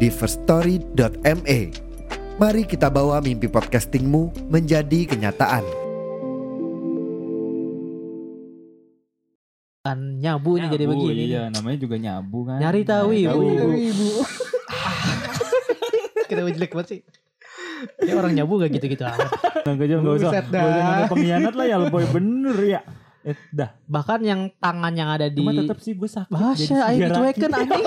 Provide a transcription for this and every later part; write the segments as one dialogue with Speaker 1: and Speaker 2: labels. Speaker 1: di firststory.me. Mari kita bawa mimpi podcastingmu menjadi kenyataan.
Speaker 2: kan nyabunya jadi
Speaker 3: Nyabu,
Speaker 2: begini.
Speaker 3: Iya, namanya juga nyabu kan.
Speaker 2: Nyari tahu
Speaker 3: Nyari
Speaker 2: ibu.
Speaker 3: tahu.
Speaker 2: Kita jelek banget sih. Ya orang nyabu gak gitu-gitu amat.
Speaker 3: Nggak nggak, nggak usah. Nggak
Speaker 4: Buset
Speaker 3: usah
Speaker 4: dah.
Speaker 3: ngambil pengkhianat lah ya, boy bener ya. Eh, dah.
Speaker 2: Bahkan yang tangan yang ada di
Speaker 3: Cuma tetap sih gue sakit.
Speaker 2: Bahasa
Speaker 3: jadi Iya,
Speaker 2: ayo
Speaker 3: segera.
Speaker 2: dicuekin anjing.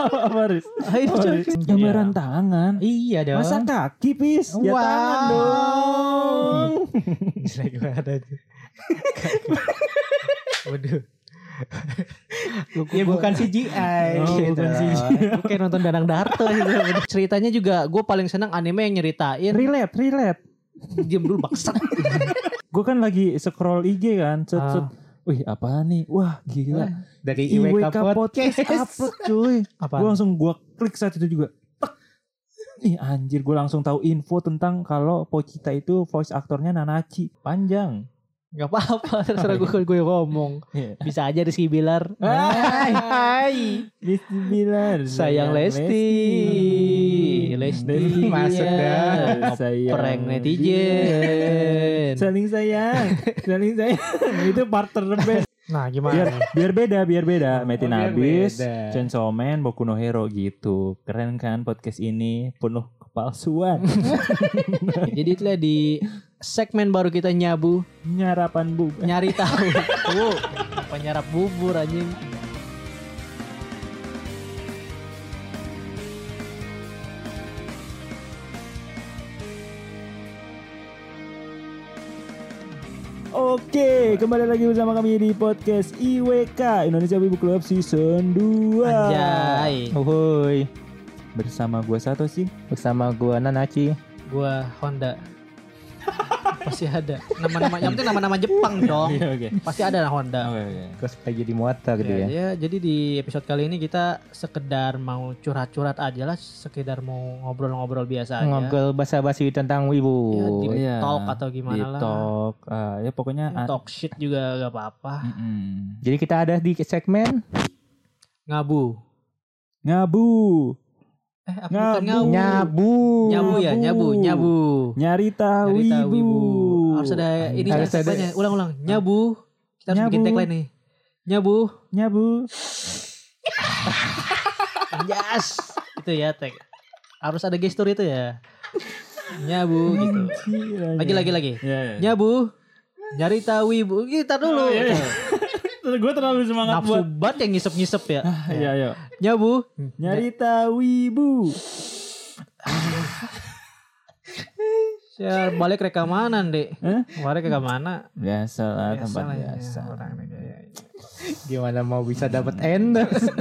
Speaker 3: Apa, apa, Riz?
Speaker 2: Ayo
Speaker 3: Apa, Riz?
Speaker 2: dicuekin.
Speaker 3: Gambaran tangan.
Speaker 2: Iya dong.
Speaker 3: Masa kaki, Pis? Ya
Speaker 2: Wow.
Speaker 3: tangan dong.
Speaker 2: Jelek banget aja. Waduh.
Speaker 4: Ya bukan CGI
Speaker 3: Oh,
Speaker 4: gitu.
Speaker 3: bukan CGI.
Speaker 2: Kayak nonton Danang Darto gitu. Ceritanya juga gue paling senang anime yang nyeritain
Speaker 3: Relate, relate.
Speaker 2: Diam dulu bangsat.
Speaker 3: Gue kan lagi scroll IG kan. Cet,
Speaker 2: Ah. Iya.
Speaker 3: cet. Wih, apa nih? Wah, gila.
Speaker 4: Dari
Speaker 3: IWK
Speaker 4: IWK
Speaker 3: Podcast
Speaker 4: Podcast
Speaker 3: upload cuy.
Speaker 2: Apa?
Speaker 3: Gue langsung gue klik saat itu juga. Tek. Ih anjir gue langsung tahu info tentang kalau Pochita itu voice aktornya Nanachi. Panjang.
Speaker 2: Gak apa-apa terserah gue gue ngomong.
Speaker 3: Iya.
Speaker 2: Bisa aja Rizky Bilar.
Speaker 3: Hai.
Speaker 2: Hai.
Speaker 3: Lesti Bilar.
Speaker 2: Sayang Lesti. Lesti. iya.
Speaker 4: Masuk dah.
Speaker 3: Sayang
Speaker 2: Prank netizen.
Speaker 3: Saling sayang. Saling sayang. itu part terbest.
Speaker 2: Nah
Speaker 3: Biar,
Speaker 2: gimana?
Speaker 3: biar beda, biar beda. Metin
Speaker 4: biar
Speaker 3: Abis,
Speaker 4: beda.
Speaker 3: Chainsaw Man, Boku no Hero gitu. Keren kan podcast ini penuh kepalsuan.
Speaker 2: Jadi itulah di segmen baru kita nyabu
Speaker 3: Nyarapan bu.
Speaker 2: nyari tahu. Tuh, apa nyarap bubur anjing?
Speaker 3: Oke, kembali lagi bersama kami di podcast IWK Indonesia Wibu Club Season 2.
Speaker 2: Anjay.
Speaker 3: Uhuy. Bersama gua satu sih, bersama gua Nanachi.
Speaker 2: Gua Honda. Pasti ada. Nama-nama yang penting nama-nama Jepang dong.
Speaker 3: Iya, oke.
Speaker 2: Pasti ada lah Honda.
Speaker 3: Oke, oke. Iya,
Speaker 4: Cosplay jadi muata gitu
Speaker 2: Iya. Ya,
Speaker 4: ya.
Speaker 2: ya, jadi di episode kali ini kita sekedar mau curhat-curhat aja lah, sekedar mau ngobrol-ngobrol biasa aja.
Speaker 4: Ngobrol basa-basi
Speaker 2: Ya,
Speaker 4: tentang wibu.
Speaker 2: di
Speaker 3: Iya.
Speaker 2: talk atau
Speaker 3: Di
Speaker 2: gimana lah.
Speaker 3: talk, ah, ya pokoknya
Speaker 2: Ya, Talk shit juga gak apa-apa.
Speaker 3: Mm-mm.
Speaker 4: Jadi kita ada di segmen
Speaker 2: Ngabu.
Speaker 3: Ngabu,
Speaker 2: Eh, apa bukan ngabu?
Speaker 4: nyabu.
Speaker 2: Nyabu ya, nyabu, nyabu.
Speaker 3: nyari tahu
Speaker 2: Nyari tahu
Speaker 3: ibu.
Speaker 2: ibu. Harus ada ini ya,
Speaker 4: Harus ada.
Speaker 2: tagline-nya. Ulang-ulang. Nyabu. Kita harus
Speaker 3: Nyabu.
Speaker 2: bikin tagline nih. Nyabu.
Speaker 3: Nyabu.
Speaker 2: Yes. itu ya tag. Harus ada gestur itu ya. Nyabu gitu. Lagi lagi lagi.
Speaker 3: Ya, ya.
Speaker 2: Nyabu. Nyari tahu ibu. Kita dulu.
Speaker 3: Gue terlalu semangat
Speaker 2: Nafsu
Speaker 3: buat.
Speaker 2: banget yang ngisep-ngisep ya.
Speaker 3: Iya, ayo.
Speaker 2: Nyabu.
Speaker 3: Nyari tahu ibu.
Speaker 2: Ya, balik rekaman Dek.
Speaker 3: Hah?
Speaker 2: Balik rekaman.
Speaker 3: Biasa lah tempat
Speaker 2: iya. ya,
Speaker 3: biasa.
Speaker 4: Gimana mau bisa dapat endorse?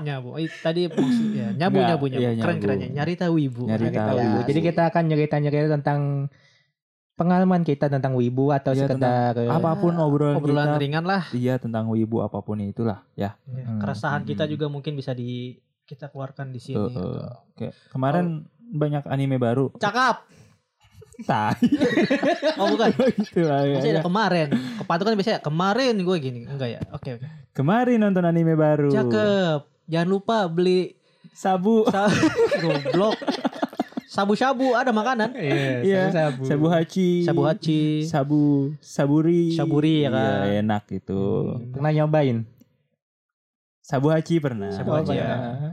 Speaker 2: nyabu Eh, tadi maksud- ya, nyabu
Speaker 3: Nggak,
Speaker 2: nyabu nyabu
Speaker 3: iya,
Speaker 2: keren
Speaker 3: nyabu.
Speaker 2: kerennya nyari tahu ibu
Speaker 3: Nyari
Speaker 2: Oke.
Speaker 3: tahu.
Speaker 4: Tahu.
Speaker 3: Tahu.
Speaker 4: Nah, gitu ya. Jadi kita akan nyerita-nyerita tentang pengalaman kita tentang wibu atau
Speaker 3: Iya,
Speaker 4: sekedar eh,
Speaker 3: Apapun obrolan,
Speaker 2: obrolan
Speaker 3: kita,
Speaker 2: ringan lah
Speaker 3: iya tentang wibu apapun itulah ya.
Speaker 4: Hmm.
Speaker 2: keresahan kita
Speaker 3: Hmm.
Speaker 2: juga mungkin bisa di kita keluarkan di sini
Speaker 3: Tuh, tuh. Oke. Kemarin banyak anime baru.
Speaker 2: cakap
Speaker 3: Tai
Speaker 2: oh bukan
Speaker 3: gitu lah ya.
Speaker 2: Maksudnya ada kemarin kepatu kan biasanya kemarin gue gini enggak ya oke oke
Speaker 3: Kemarin nonton anime baru.
Speaker 2: cakep jangan lupa beli
Speaker 3: Sabu.
Speaker 2: sa- goblok sabu-sabu ada makanan
Speaker 3: Iya.
Speaker 4: sabu.
Speaker 3: Sabu Hachi.
Speaker 2: sabu hachi
Speaker 3: Sabu Saburi.
Speaker 2: Saburi, ya kan? Hmm.
Speaker 3: Iya, enak itu.
Speaker 4: Pernah nyobain?
Speaker 3: Sabu Hachi pernah.
Speaker 2: Sabu Hachi, ya.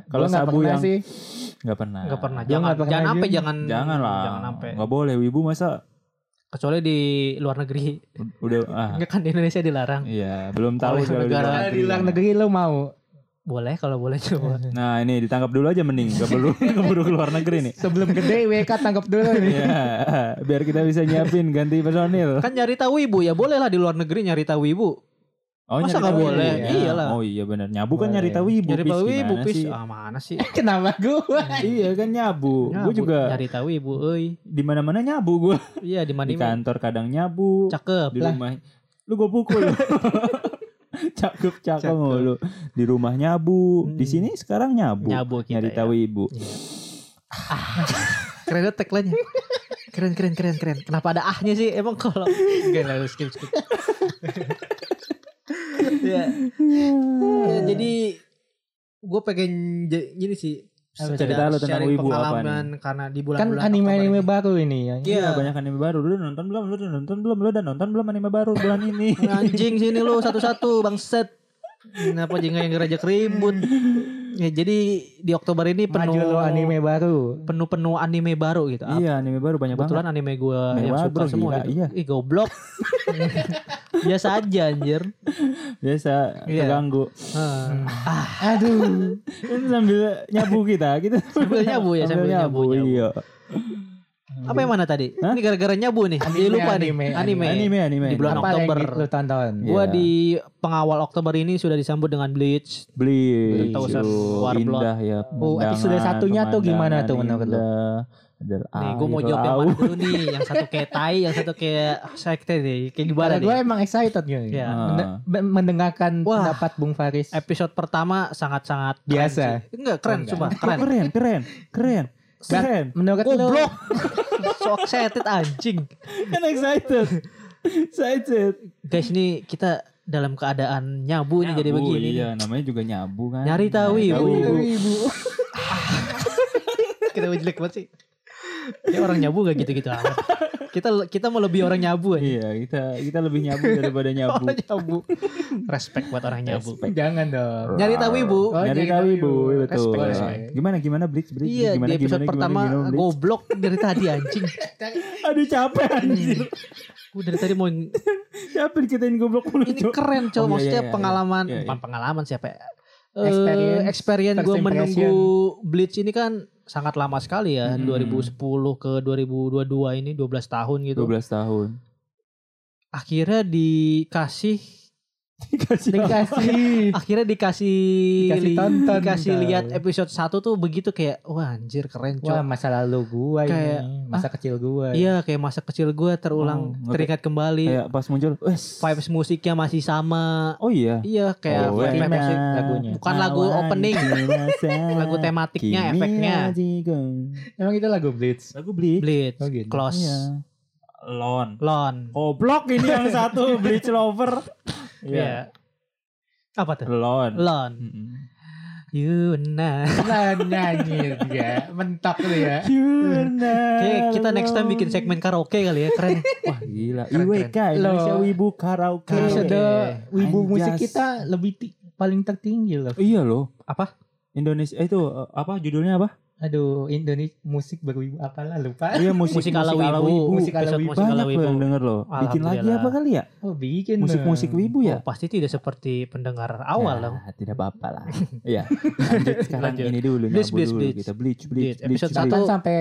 Speaker 3: Kalau
Speaker 4: Gua nggak
Speaker 3: sabu
Speaker 4: pernah
Speaker 3: yang
Speaker 4: sih.
Speaker 3: nggak pernah.
Speaker 2: Enggak pernah
Speaker 4: Gua
Speaker 2: Nah, jangan
Speaker 4: nggak pernah
Speaker 2: jangan sampai
Speaker 4: juga.
Speaker 2: jangan
Speaker 3: Jangan lah.
Speaker 2: jangan sampai
Speaker 3: Nggak boleh wibu masa
Speaker 2: kecuali di luar negeri
Speaker 3: udah ah.
Speaker 2: enggak kan di Indonesia dilarang
Speaker 3: Iya, belum tahu
Speaker 2: Oleh
Speaker 3: kalau di
Speaker 2: negara.
Speaker 3: luar
Speaker 4: Kalau
Speaker 3: negeri.
Speaker 4: di luar negeri lo mau
Speaker 2: boleh kalau boleh coba
Speaker 3: Nah ini ditangkap dulu aja mending keburu keburu keluar negeri nih.
Speaker 4: sebelum gede WK tangkap dulu nih.
Speaker 3: Iya, biar kita bisa nyiapin ganti personil.
Speaker 2: kan nyari tahu ibu ya boleh lah di luar negeri nyari tahu ibu
Speaker 3: Oh,
Speaker 2: Masa
Speaker 3: nyari
Speaker 2: nggak
Speaker 3: tahu
Speaker 2: boleh?
Speaker 3: ibu.
Speaker 2: Iyalah.
Speaker 3: Oh iya benar. Nyabu kan
Speaker 4: Boleh.
Speaker 3: nyari tahu ibu.
Speaker 2: Nyari
Speaker 3: Pis.
Speaker 2: tahu ibu
Speaker 3: Gimana
Speaker 2: pis.
Speaker 3: sih?
Speaker 2: Ah, mana sih?
Speaker 4: Kenapa gue?
Speaker 3: iya kan nyabu. Gue
Speaker 2: Nyabu,
Speaker 3: juga
Speaker 2: nyari tahu ibu, euy.
Speaker 3: di mana-mana nyabu gue.
Speaker 2: Iya di mana
Speaker 3: Di kantor kadang nyabu.
Speaker 2: Cakep.
Speaker 3: Di rumah. Lu gue pukul. cakep cakep
Speaker 4: Cakep.
Speaker 3: mau lu. Di rumah nyabu.
Speaker 2: Hmm.
Speaker 3: Di sini sekarang nyabu.
Speaker 2: Nyabu kita.
Speaker 3: nyari
Speaker 2: ya.
Speaker 3: tahu ibu.
Speaker 2: Iya. Keren banget tagline-nya. Keren keren keren keren. Kenapa ada ahnya sih? Emang kalau enggak lah skip skip. ya. Ya, jadi gue pengen j- gini sih
Speaker 4: Apa sih?
Speaker 3: Cerita lu tentang
Speaker 2: sharing
Speaker 3: ibu apa
Speaker 2: pengalaman karena di
Speaker 4: Kan
Speaker 2: bulan-bulan
Speaker 4: anime-anime
Speaker 2: Iya, Oktober
Speaker 4: baru ini ya.
Speaker 2: ini. Iya,
Speaker 3: Iya banyak anime baru. Lu udah nonton belum? Lu udah nonton belum? Lu udah nonton belum anime baru bulan ini?
Speaker 2: anjing sini lu satu-satu bangset. Kenapa jengah yang gerajak ribut? Ya jadi di Oktober ini penuh
Speaker 4: Maju lo anime baru.
Speaker 2: penuh-penuh anime baru gitu. Apa
Speaker 3: iya anime baru banyak
Speaker 2: Kebetulan
Speaker 3: banget.
Speaker 2: anime gue
Speaker 3: Anime
Speaker 2: yang
Speaker 3: banget,
Speaker 2: suka
Speaker 3: bro,
Speaker 2: semua
Speaker 3: gila,
Speaker 2: gitu.
Speaker 3: iya.
Speaker 2: Ih goblok. Biasa aja anjir.
Speaker 3: Biasa
Speaker 2: Iya.
Speaker 3: terganggu.
Speaker 2: Heeh.
Speaker 3: Hmm.
Speaker 4: Aduh.
Speaker 3: Ini sambil nyabu kita, kita
Speaker 2: Sambil nyabu ya, sambil nyabu, nyabu.
Speaker 3: Iya.
Speaker 2: Apa yang mana tadi?
Speaker 3: Hah?
Speaker 2: Ini gara-gara nyabu nih.
Speaker 4: Anime,
Speaker 2: Jadi lupa nih.
Speaker 4: anime,
Speaker 2: Anime.
Speaker 3: Anime, anime.
Speaker 2: Di bulan
Speaker 4: Apa yang
Speaker 2: Oktober.
Speaker 4: lo tonton?
Speaker 3: Iya.
Speaker 2: Gua di pengawal Oktober ini sudah disambut dengan Bleach.
Speaker 3: Bleach.
Speaker 2: Tahu, Sas,
Speaker 3: Aduh,
Speaker 2: Warblot.
Speaker 3: Indah ya.
Speaker 4: Oh, episode
Speaker 3: pemandangan,
Speaker 4: satunya tuh gimana tuh
Speaker 3: pemandangan
Speaker 4: menurut lu?
Speaker 3: indah. Ada
Speaker 2: Nih, gue mau
Speaker 3: air
Speaker 2: jawab yang mana
Speaker 3: laut.
Speaker 2: dulu nih. Yang satu kayak tai, yang satu kayak sekte nih. Kayak gimana
Speaker 4: Karena
Speaker 2: nih?
Speaker 4: gue emang excited gitu.
Speaker 2: Ya.
Speaker 4: Mende- be- mendengarkan
Speaker 2: Wah.
Speaker 4: pendapat Bung Faris.
Speaker 2: Episode pertama sangat-sangat keren
Speaker 4: Biasa.
Speaker 2: sih. Enggak, keren,
Speaker 4: Oh, enggak.
Speaker 2: sumpah.
Speaker 3: Keren,
Speaker 2: Keren.
Speaker 3: keren, keren, keren. Keren.
Speaker 4: Menurut lo
Speaker 2: Goblok. Sok setit anjing.
Speaker 3: Kan excited. excited.
Speaker 2: Guys, ini kita dalam keadaan nyabu, nih jadi
Speaker 3: Nyabu,
Speaker 2: begini.
Speaker 3: Iya, namanya juga nyabu kan.
Speaker 2: Nyari tahu ibu.
Speaker 4: ibu.
Speaker 2: Kita jelek banget sih. Ya orang nyabu gak gitu-gitu amat. Kita kita mau lebih orang nyabu aja.
Speaker 3: Iya, kita kita lebih nyabu daripada nyabu.
Speaker 2: Orang nyabu. Respect buat orang nyabu.
Speaker 4: Jangan dong.
Speaker 2: Nyari tahu ibu.
Speaker 4: Oh,
Speaker 3: nyari
Speaker 4: nyari
Speaker 3: tahu
Speaker 4: tahu
Speaker 3: ibu, Iya,
Speaker 4: ibu.
Speaker 3: betul.
Speaker 4: Respect,
Speaker 2: respect.
Speaker 3: Gimana gimana Bleach, Bleach,
Speaker 2: Iya,
Speaker 3: gimana,
Speaker 2: di episode pertama
Speaker 3: Bleach?
Speaker 2: goblok dari tadi anjing.
Speaker 3: Aduh capek anjir.
Speaker 2: Gue dari tadi mau ini
Speaker 3: Capek dikitain goblok mulu. Cok.
Speaker 2: keren
Speaker 3: Oh,
Speaker 2: coba
Speaker 3: iya,
Speaker 2: maksudnya
Speaker 3: iya, iya.
Speaker 2: pengalaman
Speaker 3: Iya, iya.
Speaker 2: bukan pengalaman siapa ya? Eh,
Speaker 4: Experience,
Speaker 2: experience gue
Speaker 4: first
Speaker 2: menunggu
Speaker 4: impression.
Speaker 2: Bleach ini kan sangat lama sekali ya
Speaker 3: Hmm.
Speaker 2: 2010 ke 2022 ini 12 tahun gitu
Speaker 3: 12 tahun.
Speaker 2: akhirnya dikasih
Speaker 3: Dikasih
Speaker 4: Dikasih.
Speaker 2: akhirnya dikasih
Speaker 4: Dikasih
Speaker 2: li-
Speaker 4: tonton,
Speaker 2: dikasih
Speaker 4: tau.
Speaker 2: lihat episode 1 tuh begitu kayak wah anjir keren coy
Speaker 4: Wah masa lalu gua
Speaker 2: Kayak,
Speaker 4: ini. Masa kecil gua.
Speaker 2: iya kayak masa kecil gue terulang
Speaker 3: Oh, ngerti.
Speaker 2: teringat kembali
Speaker 3: Kayak pas muncul, wes.
Speaker 2: vibes musiknya masih sama
Speaker 3: Oh iya.
Speaker 2: iya kayak
Speaker 3: Oh,
Speaker 2: vibe
Speaker 3: iya.
Speaker 2: musik
Speaker 4: lagunya.
Speaker 2: bukan lagu opening. lagu tematiknya efeknya
Speaker 4: Emang itu lagu Blitz.
Speaker 3: Lagu Bleach.
Speaker 2: Bleach
Speaker 4: Oh, gitu.
Speaker 2: Close
Speaker 3: Iya. Lon.
Speaker 2: Lon
Speaker 3: Goblok ini yang satu Bleach lover. Iya.
Speaker 2: Iya apa tuh
Speaker 3: Lon.
Speaker 2: Lon You nah
Speaker 4: Nah nyanyi dia. Mentok tuh ya.
Speaker 2: Oke, kita next time bikin segmen karaoke kali ya keren
Speaker 3: Wah gila.
Speaker 2: Keren,
Speaker 3: IWK Indonesia
Speaker 4: Lon.
Speaker 3: Wibu Karaoke. Iya,
Speaker 2: Karaoke.
Speaker 4: Episode wibu
Speaker 3: Anjas.
Speaker 4: musik kita lebih ti- paling tertinggi loh.
Speaker 3: Iya loh.
Speaker 2: Apa?
Speaker 3: Indonesia eh, itu eh, apa judulnya apa?
Speaker 4: Aduh Indonesia musik berwibu apalah lupa.
Speaker 3: Iya
Speaker 2: musik ala wibu
Speaker 4: Musik ala
Speaker 2: Episode
Speaker 4: wibu.
Speaker 2: musik ala
Speaker 3: Banyak loh
Speaker 2: wibu
Speaker 3: yang denger loh. Bikin lagi
Speaker 2: Alhamdulillah.
Speaker 3: apa kali ya?
Speaker 4: Oh bikin
Speaker 3: Musik-musik
Speaker 4: Bang.
Speaker 3: wibu ya?
Speaker 2: Oh, pasti tidak seperti pendengar Oh, awal
Speaker 3: Ya,
Speaker 2: dong.
Speaker 3: Tidak apa-apa lah. Iya. Lanjut sekarang
Speaker 2: Lanjut.
Speaker 3: ini dulu
Speaker 2: Bleach,
Speaker 3: nyabu
Speaker 2: bleach,
Speaker 3: dulu
Speaker 2: bleach.
Speaker 3: kita bleach
Speaker 2: Bleach.
Speaker 3: bleach bleach.
Speaker 2: Episode
Speaker 3: bleach.
Speaker 4: Kan
Speaker 2: Satu.
Speaker 4: sampai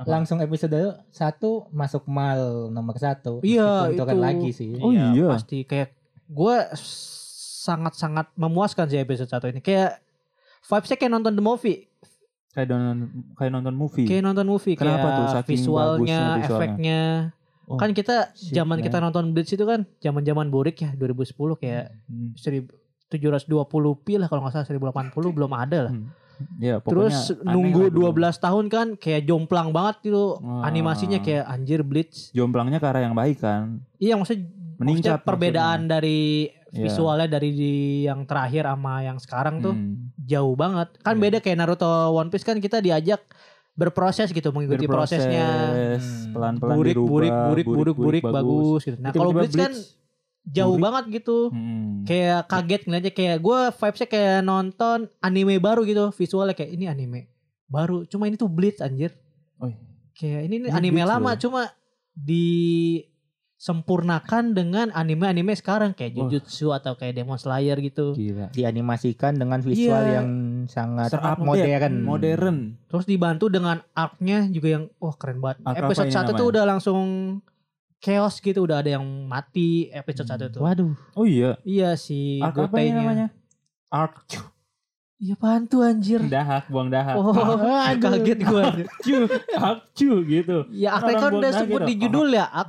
Speaker 3: Apa?
Speaker 4: langsung episode satu masuk mal nomor satu.
Speaker 2: Iya,
Speaker 4: Meskipun
Speaker 2: itu.
Speaker 4: kan lagi sih.
Speaker 3: Oh iya.
Speaker 2: Pasti kayak gue sangat-sangat memuaskan sih episode satu ini. Kayak vibes-nya kayak nonton the movie,
Speaker 3: Kayak nonton kayak nonton movie.
Speaker 2: kayak nonton movie
Speaker 3: Kenapa
Speaker 2: kayak
Speaker 3: tuh? Saking
Speaker 2: visualnya,
Speaker 3: bagusnya visualnya.
Speaker 2: efeknya.
Speaker 3: Oh,
Speaker 2: kan kita
Speaker 3: shit,
Speaker 2: zaman
Speaker 3: man.
Speaker 2: kita nonton Blitz itu kan zaman-zaman burik ya 2010 kayak
Speaker 3: Hmm.
Speaker 2: 1720p lah kalau nggak salah 1080 belum ada lah.
Speaker 3: Ya, pokoknya
Speaker 2: Terus
Speaker 3: aneh lah
Speaker 2: nunggu
Speaker 3: dulu.
Speaker 2: 12 tahun kan kayak jomplang banget itu
Speaker 3: Wah.
Speaker 2: animasinya kayak anjir Blitz
Speaker 3: Jomplangnya ke arah yang baik kan.
Speaker 2: Iya maksudnya
Speaker 3: Meningkat
Speaker 2: maksudnya perbedaan dari
Speaker 3: Iya.
Speaker 2: visualnya dari di yang terakhir sama yang sekarang tuh
Speaker 3: Hmm.
Speaker 2: jauh banget. Kan
Speaker 3: Iya.
Speaker 2: beda kayak Naruto One Piece kan kita diajak berproses gitu mengikuti
Speaker 3: Berproses,
Speaker 2: prosesnya.
Speaker 4: Hmm.
Speaker 3: pelan-pelan
Speaker 2: Burik,
Speaker 3: dirubah,
Speaker 2: burik, burik, burik, burik, bagus. gitu. Nah kalau
Speaker 3: Tiba-tiba
Speaker 2: Bleach kan jauh
Speaker 3: Burik.
Speaker 2: banget gitu.
Speaker 3: Hmm.
Speaker 2: Kayak kaget ngeliatnya kayak gue vibesnya kayak nonton anime baru gitu. Visualnya kayak ini anime baru. Cuma ini tuh Bleach anjir.
Speaker 3: Oh,
Speaker 2: Kayak ini, ini
Speaker 3: Ini
Speaker 2: anime
Speaker 3: Bleach
Speaker 2: lama
Speaker 3: loh.
Speaker 2: cuma disempurnakan dengan anime-anime sekarang kayak
Speaker 3: Wah.
Speaker 2: Jujutsu atau kayak Demon Slayer gitu.
Speaker 3: gila.
Speaker 4: Dianimasikan dengan visual
Speaker 2: Iya.
Speaker 4: yang sangat
Speaker 3: Terupdate,
Speaker 4: modern.
Speaker 3: ya? modern.
Speaker 2: Terus dibantu dengan arc-nya juga yang wah keren banget.
Speaker 3: Arc apa
Speaker 2: Episode
Speaker 3: ini
Speaker 2: 1 tuh
Speaker 3: namanya?
Speaker 2: udah langsung chaos gitu udah ada yang mati episode
Speaker 4: Hmm.
Speaker 2: satu tuh.
Speaker 4: Waduh.
Speaker 3: Oh iya.
Speaker 2: Iya si
Speaker 3: Ark apa ya
Speaker 2: Gotenya.
Speaker 3: namanya? Ark.
Speaker 2: Iya apaan tuh anjir.
Speaker 3: Dahak, buang dahak.
Speaker 2: Oh,
Speaker 4: Aduh.
Speaker 2: kaget gue.
Speaker 3: Cu, Ark cu gitu.
Speaker 2: Ya
Speaker 3: Orang
Speaker 2: Akte kan
Speaker 3: buang
Speaker 2: udah
Speaker 3: lagi
Speaker 2: sebut
Speaker 3: dong. Oh,
Speaker 2: di judul ya Ak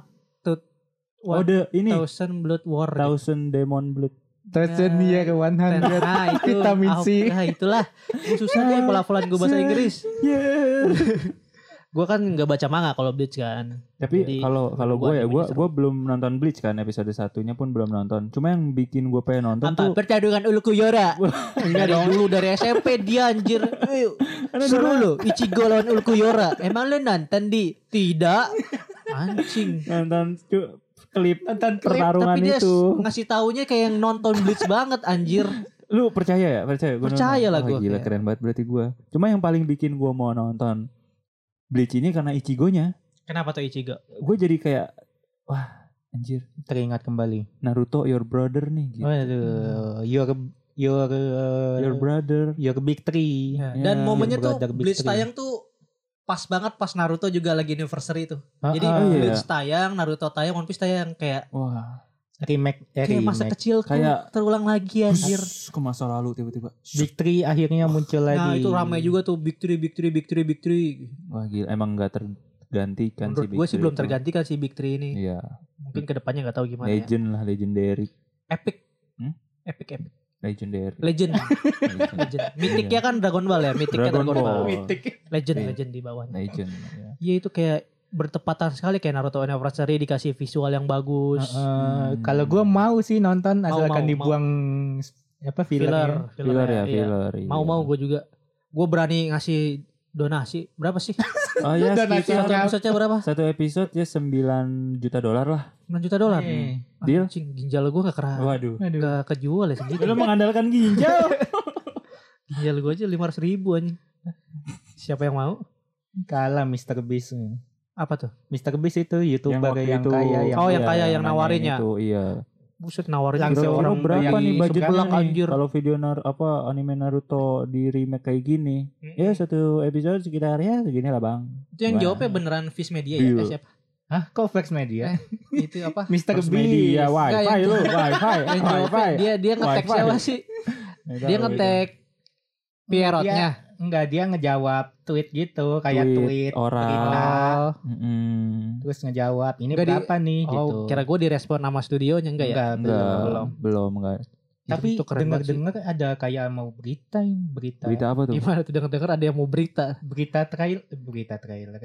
Speaker 2: What?
Speaker 3: Ode ini
Speaker 2: Thousand Blood War. gitu.
Speaker 3: Thousand Demon Blood.
Speaker 4: Thousand
Speaker 2: Nah,
Speaker 4: year 100.
Speaker 2: Nah itu
Speaker 4: Vitamin
Speaker 2: ah,
Speaker 4: C.
Speaker 2: Nah itulah Gua Susah deh pola-polaan gue bahasa Inggris
Speaker 3: Yeah.
Speaker 2: Gue kan gak baca manga kalau Bleach kan Jadi,
Speaker 3: Tapi kalau kalau
Speaker 2: gua
Speaker 3: gue ya gue
Speaker 2: animenya seru.
Speaker 3: gue belum nonton Bleach kan episode satunya pun belum nonton. Cuma yang bikin gue pengen
Speaker 2: Apa?
Speaker 3: nonton tuh
Speaker 2: Pertarungan Ulu Kuyora Enggak dong Dulu dari SMP dia anjir Ayo, Seru lo Ichigo lawan Ulu Kuyora Emang lo nonton di? Tidak Anjing
Speaker 3: nonton cu- klip
Speaker 4: Nonton klip,
Speaker 3: pertarungan
Speaker 2: Tapi dia
Speaker 3: itu.
Speaker 2: s- ngasih taunya kayak yang nonton Bleach banget anjir
Speaker 3: Lu percaya ya? Percaya gua
Speaker 2: Percaya
Speaker 3: nonton.
Speaker 2: lah
Speaker 3: Wah,
Speaker 2: gua,
Speaker 3: Gila
Speaker 2: kayak.
Speaker 3: keren banget berarti gue. Cuma yang paling bikin gue mau nonton Bleach ini karena Ichigo-nya.
Speaker 2: Kenapa tuh Ichigo?
Speaker 3: Gue jadi kayak wah anjir
Speaker 4: Teringat kembali.
Speaker 3: Naruto your brother nih gitu.
Speaker 4: Waduh. Your your uh,
Speaker 3: Your brother.
Speaker 4: your big three.
Speaker 2: Dan
Speaker 3: Ya,
Speaker 2: momennya
Speaker 4: Your
Speaker 2: tuh
Speaker 4: Brother Big
Speaker 2: Bleach
Speaker 4: Three.
Speaker 2: tayang tuh pas banget pas Naruto juga lagi anniversary tuh.
Speaker 4: Ah,
Speaker 2: Jadi
Speaker 4: ah,
Speaker 3: iya.
Speaker 2: Bleach tayang, Naruto tayang, One Piece tayang kayak
Speaker 3: Wah,
Speaker 4: remake eh,
Speaker 2: kayak masa
Speaker 4: remake.
Speaker 2: kecil
Speaker 3: Kayak-
Speaker 2: terulang lagi anjir.
Speaker 3: Bus, ke masa lalu tiba-tiba.
Speaker 4: Big three akhirnya muncul
Speaker 2: Nah,
Speaker 4: lagi.
Speaker 2: itu ramai juga tuh Big Three, Big Three, Big Three, Big Three.
Speaker 3: Wah gila emang gak tergantikan
Speaker 2: Menurut
Speaker 3: Big
Speaker 2: gue sih
Speaker 3: Three
Speaker 2: belum
Speaker 3: itu.
Speaker 2: tergantikan si Big Three ini.
Speaker 3: Iya,
Speaker 2: Mungkin kedepannya nggak tahu gimana. ya.
Speaker 3: legend lah legendary.
Speaker 2: Epic.
Speaker 3: Hmm?
Speaker 2: Epic, epic.
Speaker 3: Legendary.
Speaker 2: Legend,
Speaker 3: legend.
Speaker 2: legend. Mythicnya kan Dragon Ball ya, Mythicnya
Speaker 3: Dragon
Speaker 2: Dragon, Ball.
Speaker 3: Ball.
Speaker 2: Legend,
Speaker 3: Iya.
Speaker 2: legend di bawahnya.
Speaker 3: Legend. ya.
Speaker 2: Iya itu kayak bertepatan sekali kayak Naruto Anniversary dikasih visual yang bagus.
Speaker 4: Heeh, uh, kalau gue mau sih nonton
Speaker 2: Mau,
Speaker 4: asalkan
Speaker 2: mau,
Speaker 4: dibuang apa filler.
Speaker 2: filler,
Speaker 3: Filler ya,
Speaker 2: iya.
Speaker 3: filler. iya.
Speaker 2: Mau mau gue juga. Gue berani ngasih donasi. Berapa sih?
Speaker 3: Oh ya,
Speaker 4: Dan
Speaker 3: sekitar
Speaker 2: Satu episode berapa?
Speaker 3: satu episode ya 9 juta dolar lah.
Speaker 2: 9 juta dolar.
Speaker 3: Deal.
Speaker 2: Anjing, ginjal gue gak kera.
Speaker 3: Waduh.
Speaker 4: Iya. Aduh.
Speaker 2: Gak kejual ya segitu.
Speaker 3: Ah. Lu mengandalkan ginjal.
Speaker 2: ginjal gue aja 500 ribu anjing. Siapa yang mau?
Speaker 4: Kalah Mr. Beast.
Speaker 2: Apa tuh?
Speaker 4: Mr. Beast itu youtuber
Speaker 3: waktu
Speaker 4: yang,
Speaker 3: itu-
Speaker 4: kaya yang
Speaker 2: Oh, yang
Speaker 3: iya,
Speaker 2: kaya, yang
Speaker 3: nanyain
Speaker 2: nawarin ya.
Speaker 3: Itu iya.
Speaker 2: Buset nawarin
Speaker 4: Langsung
Speaker 2: gitu
Speaker 3: Kira-kira
Speaker 4: orang
Speaker 3: berapa
Speaker 4: dari
Speaker 3: nih budget
Speaker 4: Sumedang
Speaker 3: nih
Speaker 2: anjir.
Speaker 3: kalau video nar apa anime Naruto di remake kayak gini? Ya satu episode sekitar ya segini lah, Bang.
Speaker 2: Iya, Itu yang
Speaker 3: Wah. Iya.
Speaker 2: jawabnya beneran Fish Media ya?
Speaker 3: Deal.
Speaker 2: Eh, siapa?
Speaker 4: Hah, kok
Speaker 2: Eh,
Speaker 4: Flex Media?
Speaker 2: Itu apa?
Speaker 4: Mr.
Speaker 3: Terus
Speaker 4: Beast.
Speaker 2: Enggak,
Speaker 3: media ya, wifi
Speaker 2: yang-
Speaker 3: lu,
Speaker 2: gitu.
Speaker 3: wifi,
Speaker 2: yang
Speaker 3: wifi.
Speaker 2: jawabnya dia dia ngetek
Speaker 3: Wifi. Iya,
Speaker 2: siapa sih? Dia ngetek Pierrotnya.
Speaker 4: Enggak, dia ngejawab tweet gitu, kayak
Speaker 3: Tweet
Speaker 4: tweet,
Speaker 2: Oh.
Speaker 3: orang.
Speaker 4: viral,
Speaker 3: Mm-mm.
Speaker 4: terus ngejawab ini
Speaker 2: Enggak, di-
Speaker 4: berapa nih gitu.
Speaker 2: Oh, kira gue direspon nama studionya enggak ya?
Speaker 4: Enggak,
Speaker 3: Enggak,
Speaker 4: belum.
Speaker 2: belum.
Speaker 3: belum enggak.
Speaker 4: Tapi
Speaker 2: Itu keren banget sih.
Speaker 4: dengar-dengar ada kayak mau berita ini, berita
Speaker 3: Berita apa tuh?
Speaker 2: Gimana tuh denger-denger ada yang mau berita.
Speaker 4: berita trail berita trailer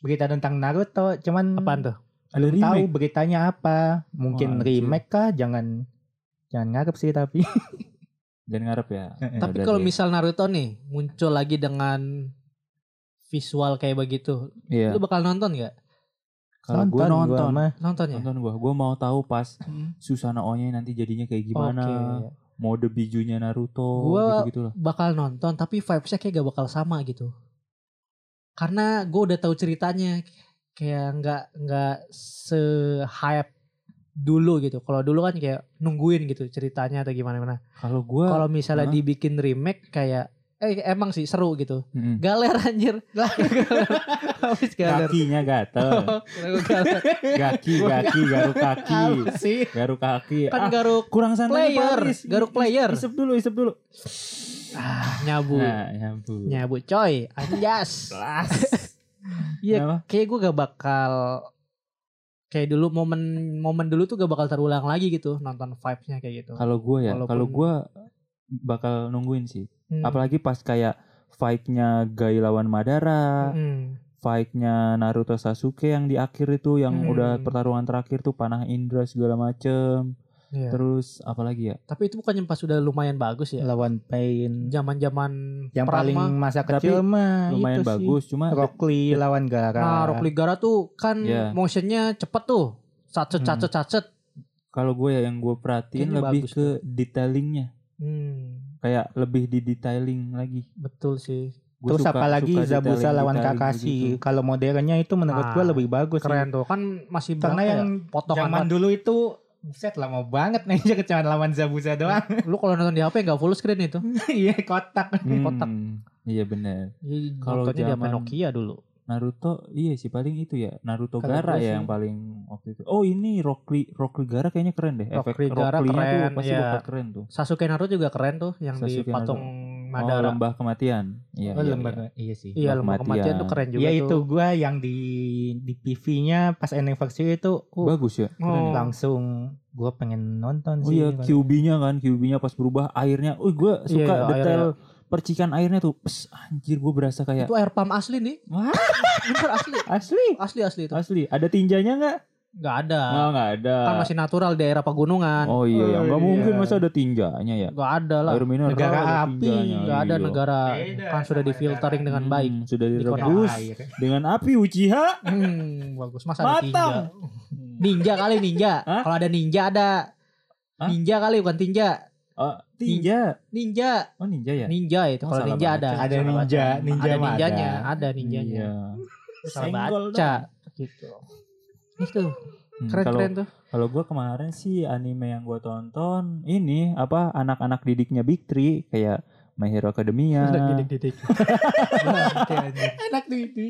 Speaker 4: berita tentang Naruto cuman
Speaker 2: Apaan tuh?
Speaker 3: Ada
Speaker 4: belum tahu
Speaker 3: remake.
Speaker 4: beritanya apa mungkin
Speaker 3: Wah, anjir.
Speaker 4: remake kah jangan jangan ngarep sih tapi
Speaker 3: Dan ngarep ya.
Speaker 4: Tapi
Speaker 2: Tapi
Speaker 3: Udah
Speaker 2: kalau
Speaker 3: deh.
Speaker 2: misal Naruto nih muncul lagi dengan visual kayak begitu,
Speaker 3: Iya.
Speaker 2: lu bakal nonton nggak?
Speaker 3: Kalau gue
Speaker 4: gua
Speaker 3: nonton,
Speaker 4: mah.
Speaker 2: Nonton ya?
Speaker 3: nonton gue, gue mau tahu pas Susana Onya nanti jadinya kayak gimana,
Speaker 2: Oke.
Speaker 3: mode bijunya Naruto,
Speaker 2: Gua-
Speaker 3: gitu gitulah.
Speaker 2: Bakal nonton, tapi vibesnya kayak gak bakal sama gitu. Karena gue udah tahu ceritanya, kayak nggak nggak se hype dulu gitu. Kalau dulu kan kayak nungguin gitu ceritanya atau gimana gimana.
Speaker 3: Kalau gue,
Speaker 2: Kalau misalnya
Speaker 3: Hah?
Speaker 2: dibikin remake kayak eh emang sih seru gitu.
Speaker 3: Mm-mm.
Speaker 2: Galer anjir. Galer. Habis galer.
Speaker 3: kakinya gatel,
Speaker 2: Kira gua galer. Iya.
Speaker 3: gaki, gaki, garuk kaki,
Speaker 4: Apa sih
Speaker 3: garuk kaki.
Speaker 2: Kan
Speaker 3: Ah,
Speaker 2: garuk
Speaker 3: kurang santai nih,
Speaker 2: player,
Speaker 3: Paris.
Speaker 2: garuk player.
Speaker 3: Isep dulu, isep dulu.
Speaker 2: Ah, nyabu.
Speaker 3: Nah, nyambung.
Speaker 2: Nyabu coy, anjas.
Speaker 3: Kelas.
Speaker 2: Iya.
Speaker 3: Kenapa?
Speaker 2: kayak gue gak bakal kayak dulu momen momen dulu tuh gak bakal terulang lagi gitu nonton vibesnya kayak gitu.
Speaker 3: Kalau gue ya,
Speaker 2: Walaupun-
Speaker 3: kalau gue bakal nungguin sih.
Speaker 2: Hmm.
Speaker 3: Apalagi pas kayak fight-nya Gai lawan Madara,
Speaker 4: Hmm.
Speaker 2: Mm.
Speaker 3: fight-nya Naruto Sasuke yang di akhir itu yang
Speaker 2: Hmm.
Speaker 3: udah pertarungan terakhir tuh panah Indra segala macem
Speaker 4: Ya.
Speaker 2: Iya.
Speaker 3: terus apalagi ya
Speaker 2: Tapi itu bukannya pas udah lumayan bagus ya?
Speaker 4: lawan Pain
Speaker 2: Zaman-zaman
Speaker 4: yang
Speaker 2: perang
Speaker 4: paling
Speaker 2: mah.
Speaker 4: masa
Speaker 3: Tapi
Speaker 4: kecil mah
Speaker 3: lumayan
Speaker 4: Nah, itu sih.
Speaker 3: bagus cuma
Speaker 4: Rock Lee lawan Gara
Speaker 2: Nah, Rock Lee Gara tuh kan
Speaker 3: Iya.
Speaker 2: motionnya cepet tuh. Sacet,
Speaker 3: Hmm.
Speaker 2: sacet, sacet.
Speaker 3: kalau gue ya yang gue perhatiin
Speaker 2: Kayaknya
Speaker 3: lebih
Speaker 2: bagus
Speaker 3: ke detailingnya
Speaker 2: Hmm,
Speaker 3: kayak lebih di detailing lagi
Speaker 2: betul sih.
Speaker 3: Gua
Speaker 4: terus
Speaker 3: suka-
Speaker 4: apalagi
Speaker 3: suka gitu
Speaker 4: Zabuza
Speaker 3: detailing-
Speaker 4: lawan
Speaker 3: detailing
Speaker 4: Kakashi
Speaker 3: begitu.
Speaker 4: kalau modernnya itu menurut gua
Speaker 2: Ah,
Speaker 4: lebih bagus sih.
Speaker 2: Keren tuh. Kan masih
Speaker 4: karena
Speaker 2: berapa
Speaker 4: yang
Speaker 2: ya? potongan
Speaker 4: zaman
Speaker 2: banget.
Speaker 4: dulu itu buset lama banget nih cuma lawan Zabuza doang
Speaker 2: Lu kalau nonton di HP nggak full screen itu.
Speaker 4: iya kotak
Speaker 3: Hmm,
Speaker 2: kotak.
Speaker 3: iya bener
Speaker 2: Iya,
Speaker 3: Kalau
Speaker 2: Nontonnya di HP
Speaker 3: zaman-
Speaker 2: Nokia dulu.
Speaker 3: Naruto iya sih paling itu ya Naruto
Speaker 2: Kalau gue
Speaker 3: Gara
Speaker 2: sih-
Speaker 3: ya yang paling waktu itu oh ini Rockly Rockly Gara kayaknya keren deh
Speaker 2: Rockly Gara
Speaker 3: Rockly-nya
Speaker 2: keren,
Speaker 3: tuh pasti
Speaker 2: iya.
Speaker 3: bakal keren tuh
Speaker 2: Sasuke Naruto juga keren tuh yang di
Speaker 3: Sasuke
Speaker 2: patung
Speaker 3: oh
Speaker 2: Madara.
Speaker 3: lembah kematian iya iya,
Speaker 4: Oh,
Speaker 3: iya.
Speaker 4: lembaga- iya sih.
Speaker 2: iya, lembah
Speaker 3: kematian. Iya,
Speaker 2: kematian tuh keren juga
Speaker 4: Ya itu
Speaker 2: tuh.
Speaker 4: gua yang di di PV-nya pas anniversary itu uh,
Speaker 3: bagus ya keren
Speaker 2: Oh.
Speaker 3: ya.
Speaker 4: langsung gua pengen nonton
Speaker 3: Oh
Speaker 4: sih.
Speaker 3: iya QB-nya kan, QB-nya pas berubah airnya. Oh
Speaker 2: Iya,
Speaker 3: gue suka
Speaker 2: iya,
Speaker 3: detail percikan airnya tuh. Pes, anjir gue berasa kayak
Speaker 2: Itu air pump asli nih.
Speaker 3: Wah.
Speaker 2: Bener asli.
Speaker 3: asli.
Speaker 2: Asli asli itu.
Speaker 3: Asli, ada tinjanya nggak?
Speaker 2: Enggak ada.
Speaker 3: Oh nggak ada.
Speaker 2: Kan masih natural di daerah pegunungan.
Speaker 3: Oh iya, ya.
Speaker 4: Oh,
Speaker 3: nggak mungkin
Speaker 4: iya.
Speaker 3: masa ada tinjanya ya.
Speaker 2: Enggak ada lah.
Speaker 3: Air mineral
Speaker 4: Negara
Speaker 3: ada
Speaker 4: api,
Speaker 3: tinjanya,
Speaker 2: Enggak ada
Speaker 3: iya.
Speaker 2: negara
Speaker 4: Beda
Speaker 2: kan sudah
Speaker 4: sama
Speaker 2: difiltering dengan
Speaker 3: Hmm,
Speaker 2: baik.
Speaker 3: Sudah direbus
Speaker 4: Direbus. Air.
Speaker 3: dengan api Uchiha.
Speaker 2: Hmm, bagus masa ada tinja.
Speaker 3: Matang.
Speaker 2: Ninja kali ninja.
Speaker 3: Hah?
Speaker 2: Kalau ada ninja ada.
Speaker 3: Hah?
Speaker 2: Ninja kali bukan tinja.
Speaker 3: Oh, tinja.
Speaker 2: Ninja.
Speaker 3: Oh ninja ya.
Speaker 2: Ninja itu
Speaker 3: Oh,
Speaker 2: kalau
Speaker 3: salah
Speaker 2: ninja ada.
Speaker 3: baca.
Speaker 4: Ada
Speaker 2: Salah
Speaker 4: ninja,
Speaker 2: baca.
Speaker 4: ninja
Speaker 2: ada
Speaker 4: mah
Speaker 2: ninjanya,
Speaker 4: ada.
Speaker 2: ada ninjanya.
Speaker 3: Iya.
Speaker 2: Salah
Speaker 3: Senggol
Speaker 2: baca
Speaker 3: dong.
Speaker 2: gitu. Itu
Speaker 3: Hmm, kalau-
Speaker 2: keren-keren tuh.
Speaker 3: Kalau gue kemarin sih anime yang gue tonton ini apa anak-anak didiknya Big Three kayak My Hero Academia.
Speaker 2: Didik-didik.
Speaker 4: Enak tuh itu.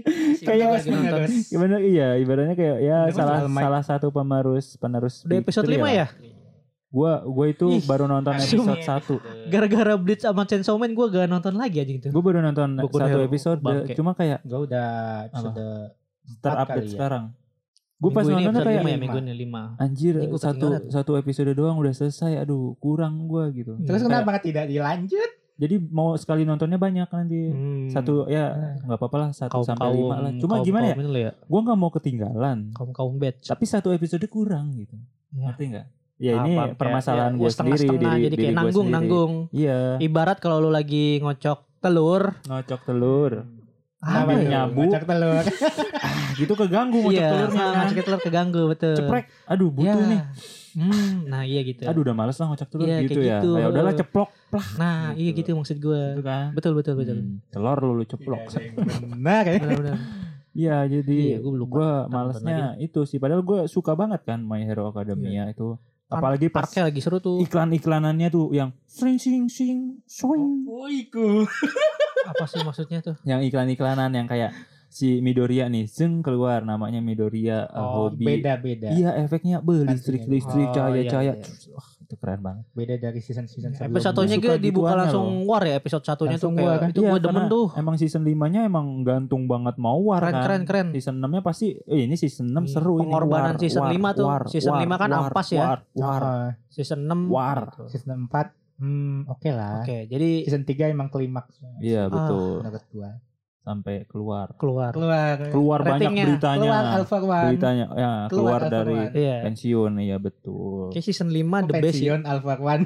Speaker 3: Kayak
Speaker 2: lagi nonton.
Speaker 3: Gimana iya ibaratnya kayak ya
Speaker 4: Ini kan
Speaker 3: salah
Speaker 4: Almighty.
Speaker 3: salah satu penerus penerus.
Speaker 2: Udah episode 5 ya?
Speaker 3: Gue gue itu
Speaker 2: Ih, ya.
Speaker 3: baru nonton episode
Speaker 4: sumpah.
Speaker 3: satu.
Speaker 2: Gara-gara Blitz sama Chainsaw Man gue gak nonton lagi aja gitu.
Speaker 3: Gue baru nonton
Speaker 2: Boku no
Speaker 3: satu
Speaker 2: Hero.
Speaker 3: episode
Speaker 2: Bangke.
Speaker 3: cuma kayak
Speaker 4: Gua udah episode
Speaker 3: terupdate
Speaker 4: kali ya.
Speaker 3: sekarang. Gue pas
Speaker 2: Minggu ini
Speaker 3: nontonnya
Speaker 2: episode
Speaker 3: kayak
Speaker 2: lima ya,
Speaker 4: lima.
Speaker 2: minggu ini 5.
Speaker 3: anjir
Speaker 2: Ini gua
Speaker 3: satu
Speaker 2: ketinggalan.
Speaker 3: satu episode doang udah selesai. Aduh kurang gue gitu.
Speaker 4: Terus kenapa tidak dilanjut?
Speaker 3: Jadi mau sekali nontonnya banyak nanti.
Speaker 2: Hmm,
Speaker 3: Satu
Speaker 2: iya.
Speaker 3: ya nggak apa-apa lah satu sampai lima lah. Cuma gimana ya?
Speaker 2: Kaum, ya?
Speaker 3: gue nggak mau ketinggalan
Speaker 2: kaum kaum batch.
Speaker 3: tapi satu episode kurang gitu
Speaker 2: Ya.
Speaker 3: ngerti nggak ya ini
Speaker 2: Apa, kayak-
Speaker 3: permasalahan
Speaker 2: ya,
Speaker 3: gue
Speaker 2: ya
Speaker 3: sendiri
Speaker 2: setengah-setengah,
Speaker 3: diri-
Speaker 2: jadi
Speaker 3: diri
Speaker 2: kayak
Speaker 3: gua
Speaker 2: nanggung
Speaker 3: sendiri.
Speaker 2: nanggung.
Speaker 3: iya
Speaker 2: Ibarat kalau lu lagi ngocok telur,
Speaker 3: ngocok telur
Speaker 4: Nah,
Speaker 2: apa
Speaker 3: Namanya
Speaker 2: ya?
Speaker 3: nyabu.
Speaker 4: Ngocok telur.
Speaker 3: Ah, gitu keganggu ngocok nah.
Speaker 2: Iya,
Speaker 3: telurnya
Speaker 2: ah, ngocok telur keganggu betul.
Speaker 3: ceprek aduh butuh
Speaker 2: Ya.
Speaker 3: nih
Speaker 2: Hmm, nah iya gitu.
Speaker 3: aduh udah males lah ngocok telur
Speaker 2: Iya,
Speaker 3: gitu
Speaker 2: kayak
Speaker 3: ya
Speaker 2: gitu.
Speaker 3: kayak udahlah ceplok
Speaker 2: nah, iya
Speaker 3: gitu.
Speaker 2: gitu maksud gue.
Speaker 3: gitu kan
Speaker 2: Betul betul betul.
Speaker 3: Hmm, telur lu, lu ceplok
Speaker 4: Iya, Benar ya.
Speaker 2: Benar-benar. Iya,
Speaker 3: iya jadi
Speaker 2: gua lupa.
Speaker 3: gue
Speaker 2: Nonton
Speaker 3: malesnya itu sih padahal gue suka banget kan My Hero Academia itu apalagi pas
Speaker 2: Parknya lagi seru Iya. tuh.
Speaker 3: iklan-iklanannya tuh yang swing swing swing swing
Speaker 4: Woiku.
Speaker 2: Apa sih maksudnya tuh?
Speaker 3: yang iklan-iklanan yang kayak si Midoriya nih zeng keluar namanya Midoriya uh,
Speaker 4: Oh,
Speaker 3: hobi
Speaker 4: beda-beda.
Speaker 3: iya efeknya be listrik
Speaker 4: Maksudnya.
Speaker 3: listrik
Speaker 2: ya. Oh,
Speaker 3: cahaya
Speaker 2: iya,
Speaker 3: cahaya
Speaker 2: iya.
Speaker 3: Terus, wah, itu keren banget
Speaker 4: Beda dari season-season sebelumnya.
Speaker 2: Episode Iya, satunya
Speaker 3: Suka
Speaker 2: gue dibuka
Speaker 3: gituannya
Speaker 2: langsung war ya episode satunya tuh
Speaker 4: Langsung war,
Speaker 2: kayak
Speaker 4: kan?
Speaker 2: itu
Speaker 3: Iya,
Speaker 2: gue demen
Speaker 3: karena
Speaker 2: tuh.
Speaker 3: emang season 5-nya emang gantung banget mau war
Speaker 2: Keren
Speaker 3: kan
Speaker 2: keren keren.
Speaker 3: season 6-nya pasti eh, ini season 6
Speaker 2: Iya,
Speaker 3: seru ini
Speaker 2: pengorbanan
Speaker 3: war,
Speaker 2: season
Speaker 3: war,
Speaker 2: lima tuh.
Speaker 3: war,
Speaker 2: Season
Speaker 3: war,
Speaker 2: lima kan
Speaker 3: war,
Speaker 2: ampas ya. Gitu.
Speaker 3: war, war,
Speaker 4: Oh,
Speaker 2: Season 6
Speaker 3: war.
Speaker 4: season 4 hmm oke lah.
Speaker 2: Oke, jadi
Speaker 4: Season 3 emang klimaks
Speaker 3: iya
Speaker 2: Ah,
Speaker 3: betul
Speaker 4: menurut gua.
Speaker 3: sampai keluar
Speaker 2: keluar.
Speaker 4: Keluar.
Speaker 3: keluar banyak
Speaker 2: Ratingnya.
Speaker 3: beritanya
Speaker 4: Keluar Alpha One.
Speaker 3: beritanya ya, keluar,
Speaker 4: Keluar Alpha
Speaker 3: dari
Speaker 4: One.
Speaker 2: Iya.
Speaker 3: pensiun iya betul
Speaker 2: Oke, season 5
Speaker 4: Oh,
Speaker 2: the best ya. sih.
Speaker 4: pensiun Alpha One.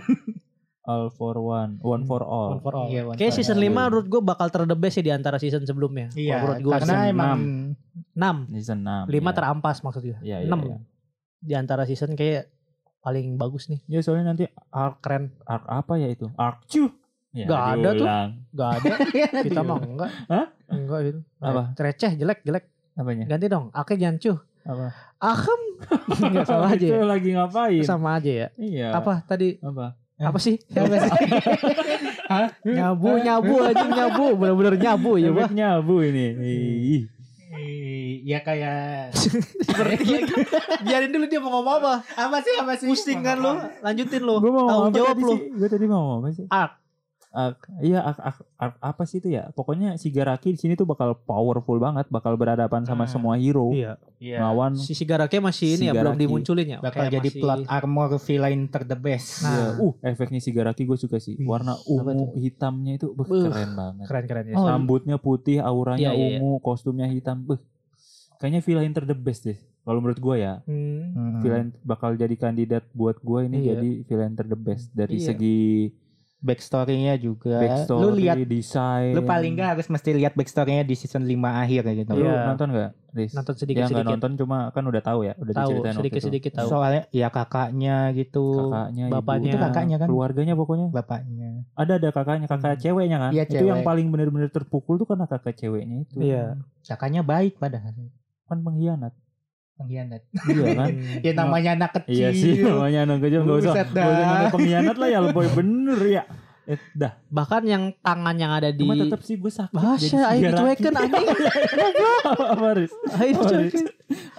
Speaker 3: all for one one for all
Speaker 2: One for all.
Speaker 4: Iya, one
Speaker 2: Oke,
Speaker 4: for
Speaker 2: season
Speaker 4: all.
Speaker 2: 5 menurut gue bakal ter the best sih di antara season sebelumnya. Kalau
Speaker 4: Iya,
Speaker 2: menurut gue
Speaker 4: karena
Speaker 2: season
Speaker 4: emang
Speaker 2: 6,
Speaker 3: season 6
Speaker 2: 5 terampas maksudnya.
Speaker 3: Iya, iya,
Speaker 2: 6
Speaker 3: iya.
Speaker 2: di antara season kayak paling bagus nih,
Speaker 3: Ya soalnya nanti arc
Speaker 2: keren.
Speaker 3: arc apa ya itu? Arc cu. Ya,
Speaker 2: Gak ada tuh.
Speaker 3: diulang.
Speaker 2: Gak ada kita mah enggak.
Speaker 3: Hah?
Speaker 2: Enggak gitu.
Speaker 3: Apa?
Speaker 2: Receh, jelek, jelek.
Speaker 3: Apanya?
Speaker 2: Ganti dong. Ake jangan cuh.
Speaker 3: Apa?
Speaker 2: Ahem. Enggak salah aja.
Speaker 3: Itu
Speaker 2: ya.
Speaker 3: gitu lagi ngapain?
Speaker 2: Sama aja ya.
Speaker 3: Iya.
Speaker 2: Apa tadi?
Speaker 3: Apa?
Speaker 2: Apa sih? Ya,
Speaker 4: Apa sih? Hah?
Speaker 2: nyabu, nyabu aja nyabu. Bener-bener nyabu ya, Bah.
Speaker 3: Efeknya abu ini. Ih.
Speaker 4: Eh, Ya kayak
Speaker 2: gitu. Biarin dulu dia mau ngomong apa.
Speaker 4: apa sih apa sih?
Speaker 2: Pusing kan lu, lanjutin lu.
Speaker 3: Gua mau
Speaker 2: Tanggung
Speaker 3: ngomong apa
Speaker 2: jawab
Speaker 3: tadi
Speaker 2: lu.
Speaker 3: sih? Gua tadi mau ngomong apa sih?
Speaker 2: Arc.
Speaker 3: Arc. Iya, arc, arc, arc apa sih itu ya? Pokoknya si Garaki di sini tuh bakal powerful banget, bakal berhadapan sama
Speaker 4: Hmm.
Speaker 3: semua hero.
Speaker 2: Iya.
Speaker 4: Iya.
Speaker 3: Lawan
Speaker 2: Si Sigarake masih ini ya belum
Speaker 3: Shigaraki.
Speaker 2: dimunculin ya.
Speaker 4: Bakal
Speaker 2: Kayak
Speaker 4: jadi
Speaker 2: masih-
Speaker 4: plot armor villain ter the
Speaker 2: Nah.
Speaker 4: best.
Speaker 3: Iya. Uh, efeknya si Garaki gue suka sih.
Speaker 2: Wih,
Speaker 3: Warna ungu hitamnya itu beh,
Speaker 2: Beuh.
Speaker 3: keren banget.
Speaker 2: keren-keren ya.
Speaker 4: Oh,
Speaker 3: Rambutnya putih,
Speaker 2: Iya, iya,
Speaker 3: auranya
Speaker 2: iya.
Speaker 3: ungu, kostumnya hitam. Beh. Kayaknya villain ter the best deh. Kalau menurut gue ya,
Speaker 2: Hmm.
Speaker 4: Hmm.
Speaker 3: villain bakal jadi kandidat buat gue ini
Speaker 2: Iya.
Speaker 3: jadi villain ter the best dari
Speaker 2: Iya.
Speaker 3: segi
Speaker 4: backstory-nya juga.
Speaker 3: backstory,
Speaker 4: Ya, Lu lihat
Speaker 3: desain.
Speaker 4: lu paling nggak harus mesti lihat backstory-nya di season 5 akhir kayak gitu.
Speaker 3: Lu
Speaker 2: Iya.
Speaker 3: nonton gak? Riz?
Speaker 2: Nonton
Speaker 3: ya nggak
Speaker 2: sedikit-sedikit.
Speaker 3: nonton cuma kan udah tahu ya, udah
Speaker 2: Tahu
Speaker 3: diceritain waktu itu.
Speaker 2: sedikit-sedikit tahu.
Speaker 4: Soalnya ya kakaknya gitu.
Speaker 3: Kakaknya,
Speaker 2: Bapaknya.
Speaker 3: ibunya,
Speaker 2: Itu
Speaker 4: kakaknya kan?
Speaker 3: keluarganya pokoknya
Speaker 4: Bapaknya.
Speaker 3: ada ada kakaknya kakak
Speaker 2: Hmm.
Speaker 3: ceweknya kan
Speaker 4: Iya,
Speaker 3: itu yang
Speaker 4: cewek.
Speaker 3: paling bener-bener terpukul tuh karena kakak ceweknya itu
Speaker 2: Iya.
Speaker 4: Kakaknya baik padahal.
Speaker 3: kan pengkhianat
Speaker 4: Pengkhianat.
Speaker 3: iya kan
Speaker 2: Hmm.
Speaker 4: Ya namanya anak
Speaker 3: iya
Speaker 4: kecil.
Speaker 3: sih namanya anak kecil nggak usah
Speaker 4: Buset
Speaker 3: nggak usah
Speaker 4: dah.
Speaker 3: nanya pengkhianat lah ya lebih bener ya Eh, dah.
Speaker 2: bahkan yang tangan yang ada di
Speaker 3: Cuma tetap sih gue sakit. jadi
Speaker 2: Bahasa ayo
Speaker 3: segala-
Speaker 2: dicuekin anjing.
Speaker 3: apa apa, Riz?
Speaker 2: Ayo
Speaker 3: Apa, Riz?
Speaker 2: dicuekin.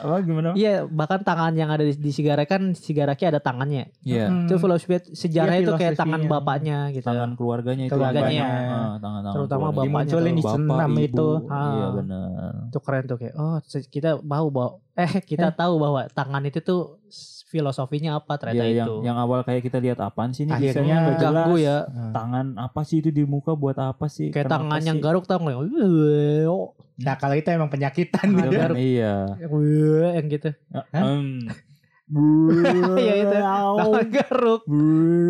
Speaker 3: Apa gimana?
Speaker 2: Iya, bahkan tangan yang ada di, di Sigara kan Sigaraki ada tangannya.
Speaker 3: Iya.
Speaker 4: Hmm.
Speaker 2: Itu filosofi sejarahnya
Speaker 4: Iya,
Speaker 2: itu kayak tangan
Speaker 4: filosofinya.
Speaker 2: bapaknya gitu.
Speaker 3: Hmm. Tangan keluarganya itu. Ah,
Speaker 4: Keluarganya.
Speaker 3: tangan -tangan
Speaker 2: Terutama bapaknya.
Speaker 4: Dimunculin di senam itu.
Speaker 2: Ah.
Speaker 3: Iya benar.
Speaker 2: Itu keren tuh kayak oh se- kita tahu bahwa eh kita tahu bahwa tangan itu tuh s- filosofinya apa ternyata
Speaker 3: Iya
Speaker 2: itu.
Speaker 3: yang yang awal kayak kita lihat apaan sih ini
Speaker 4: Akhirnya
Speaker 3: desainnya nggak jelas.
Speaker 2: ganggu ya.
Speaker 3: Tangan apa sih itu di muka buat apa sih?
Speaker 2: Kayak
Speaker 3: Kenapa
Speaker 2: tangan yang
Speaker 3: sih?
Speaker 2: garuk tau nggak? Oh,
Speaker 4: Nah kalau itu emang penyakitan
Speaker 3: Iya,
Speaker 4: gitu.
Speaker 3: benar, Iya.
Speaker 2: yang gitu.
Speaker 4: Hah?
Speaker 2: Iya, itu.
Speaker 3: Oh.
Speaker 2: Tangan garuk.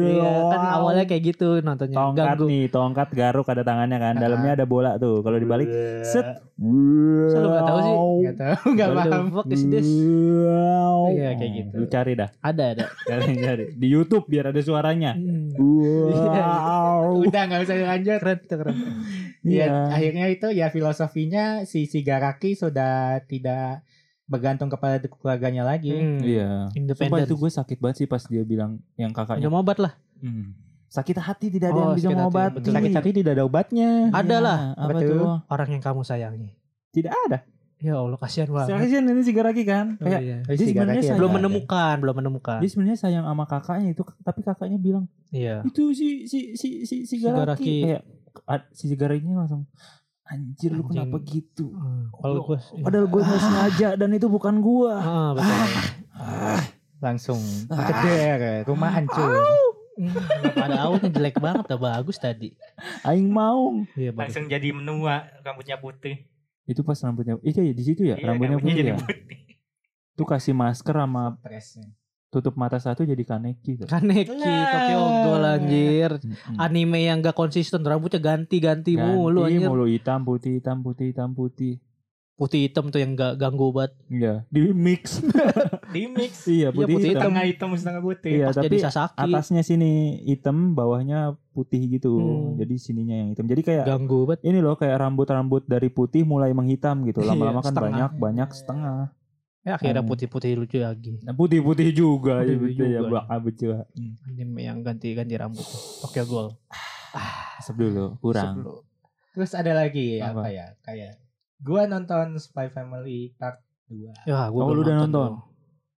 Speaker 2: Iya, kan awalnya kayak gitu nontonnya.
Speaker 3: tongkat
Speaker 2: Ganggu.
Speaker 3: nih, tongkat garuk ada tangannya kan. Dalamnya ada bola tuh. Kalau dibalik set.
Speaker 2: Saya
Speaker 3: Selalu
Speaker 2: lu nggak tahu sih.
Speaker 4: Gak tau, gak
Speaker 2: What the
Speaker 4: paham.
Speaker 2: fuck is this?
Speaker 3: Hmm.
Speaker 2: Iya, kayak gitu.
Speaker 3: Lu cari dah,
Speaker 2: Ada ada. Hmm.
Speaker 3: cari cari di YouTube biar ada suaranya.
Speaker 2: Iya. Wow.
Speaker 4: Udah gak usah lanjut.
Speaker 2: keren itu keren.
Speaker 3: Iya.
Speaker 4: Ya,
Speaker 2: Iya.
Speaker 4: akhirnya itu ya filosofinya si Sigaraki sudah tidak bergantung kepada keluarganya lagi.
Speaker 3: Iya. Sumpah
Speaker 2: Hmm. Independen.
Speaker 3: itu gue sakit banget sih pas dia bilang yang kakaknya.
Speaker 2: Minum obat lah.
Speaker 3: Hmm. Sakit hati tidak ada
Speaker 2: Oh,
Speaker 3: yang bisa
Speaker 2: sakit hati,
Speaker 3: mengobati.
Speaker 2: betul.
Speaker 4: Sakit hati tidak ada obatnya.
Speaker 2: Ada
Speaker 3: Iya,
Speaker 2: lah.
Speaker 3: Apa
Speaker 4: Apa
Speaker 3: tuh?
Speaker 4: tuh?
Speaker 2: Orang yang kamu sayangi.
Speaker 3: Tidak ada.
Speaker 2: Ya Allah kasihan banget.
Speaker 3: Sekalian ini sigaraki kan.
Speaker 2: Oh,
Speaker 3: Kayak Iya.
Speaker 2: iya.
Speaker 4: Tapi
Speaker 3: Dia
Speaker 4: Sigaraki
Speaker 3: sebenarnya
Speaker 4: yang
Speaker 3: saya-
Speaker 2: Belum
Speaker 4: ada.
Speaker 2: menemukan, belum menemukan.
Speaker 3: dia sebenarnya sayang sama kakaknya itu, tapi kakaknya bilang
Speaker 2: Iya.
Speaker 3: itu si si si si
Speaker 2: Sigaraki.
Speaker 3: sigaraki. Kayak a- si sigarakinya langsung anjir lu
Speaker 2: Anjing.
Speaker 3: kenapa gitu?
Speaker 2: Kalau gue,
Speaker 3: Padahal gue nggak sengaja dan itu bukan gua.
Speaker 2: ah, betul.
Speaker 4: Langsung ceder, rumah hancur.
Speaker 2: Hmm, kenapa ada awalnya jelek banget, dah bagus tadi.
Speaker 3: Aing mau.
Speaker 2: Iya bagus.
Speaker 5: langsung jadi menua rambutnya putih
Speaker 3: Itu pas rambutnya. Itu ya di situ ya,
Speaker 5: Iya,
Speaker 3: rambutnya putih
Speaker 5: jadi
Speaker 3: ya.
Speaker 5: putih
Speaker 3: Itu kasih masker sama
Speaker 4: Presnya.
Speaker 3: tutup mata satu jadi kaneki. tuh.
Speaker 2: Kaneki, Kan Tokyo Ghoul anjir.
Speaker 3: Mm-mm.
Speaker 2: Anime yang gak konsisten, rambutnya ganti-ganti
Speaker 3: Hmm. Ganti
Speaker 2: mulu anjir.
Speaker 3: mulu hitam putih hitam putih hitam putih.
Speaker 2: Putih hitam tuh yang gak ganggu banget.
Speaker 3: Iya, di mix.
Speaker 5: di mix
Speaker 3: iya,
Speaker 2: Iya,
Speaker 3: putih,
Speaker 2: putih
Speaker 3: hitam.
Speaker 5: setengah hitam setengah putih
Speaker 3: Iya,
Speaker 2: Pas
Speaker 3: tapi
Speaker 2: jadi Sasaki,
Speaker 3: atasnya sini hitam, bawahnya putih gitu.
Speaker 2: Hmm.
Speaker 3: Jadi sininya yang hitam. Jadi kayak
Speaker 2: ganggu banget.
Speaker 3: ini loh kayak rambut-rambut dari putih mulai menghitam gitu.
Speaker 2: Iya,
Speaker 3: Lama-lama kan
Speaker 2: setengah.
Speaker 3: banyak banyak setengah.
Speaker 2: Ya, akhirnya
Speaker 3: Hmm.
Speaker 2: putih-putih lucu lagi.
Speaker 3: Nah, putih-putih juga
Speaker 2: Putih
Speaker 3: gitu ya,
Speaker 2: juga.
Speaker 3: Bang Abejo.
Speaker 2: Anime yang ganti-ganti rambut. Tokyo Ghoul.
Speaker 3: Sep dulu, kurang.
Speaker 2: Sebelum-
Speaker 4: Iya. Terus ada lagi ya,
Speaker 3: Apa?
Speaker 4: apa? ya? Kayak gua nonton Spy Family part 2.
Speaker 2: Ya, gua
Speaker 3: Oh,
Speaker 2: belum
Speaker 3: lu udah nonton?
Speaker 2: tuh.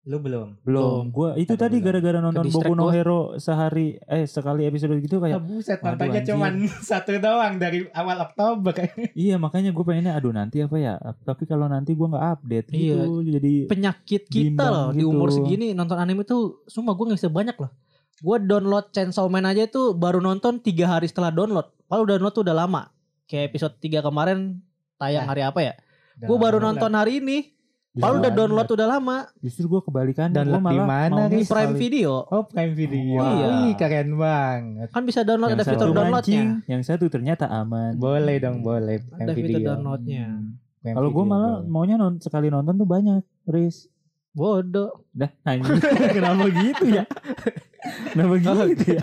Speaker 4: Lu belum?
Speaker 3: Belum. Gua itu
Speaker 4: Aduh,
Speaker 3: tadi
Speaker 4: belum.
Speaker 3: gara-gara nonton Boku
Speaker 2: Kedistract
Speaker 3: no
Speaker 2: gua.
Speaker 3: Hero sehari eh sekali episode gitu
Speaker 4: Ah,
Speaker 3: kayak
Speaker 4: buset
Speaker 3: Waduh,
Speaker 4: nontonnya
Speaker 3: anjir.
Speaker 4: cuman satu doang dari awal Oktober.
Speaker 3: Iya makanya gue pengennya aduh nanti apa ya Tapi kalau nanti gue gak update gitu Jadi
Speaker 2: Penyakit kita
Speaker 3: Bimbang
Speaker 2: loh di
Speaker 3: gitu.
Speaker 2: umur segini nonton anime tuh sumpah gua gak bisa banyak loh. Gua download Chainsaw Man aja tuh baru nonton tiga hari setelah download. Kalau download tuh udah lama. Kayak episode 3 kemarin tayang
Speaker 4: Nah.
Speaker 2: hari apa ya? Gua baru nonton hari ini. Padahal udah download udah lama
Speaker 3: Justru gue kebalikannya Gue
Speaker 4: Download di
Speaker 3: malah
Speaker 4: mana,
Speaker 3: mau
Speaker 2: di
Speaker 4: Riz?
Speaker 2: Prime
Speaker 4: Sekali.
Speaker 2: Video.
Speaker 4: Oh Prime Video.
Speaker 3: Wah.
Speaker 4: Wih keren banget.
Speaker 2: Kan bisa download ada
Speaker 3: satu
Speaker 2: fitur
Speaker 3: mancing,
Speaker 2: downloadnya.
Speaker 3: Yang satu ternyata aman
Speaker 4: Boleh dong boleh Prime
Speaker 2: Ada fitur
Speaker 4: Video. Hmm,
Speaker 2: downloadnya.
Speaker 4: Prime
Speaker 3: Kalau gue
Speaker 4: Video
Speaker 3: malah
Speaker 4: boleh.
Speaker 3: maunya non, sekali nonton tuh banyak Riz
Speaker 2: Bodoh.
Speaker 3: Dah anjing Kenapa gitu ya Kenapa gitu ya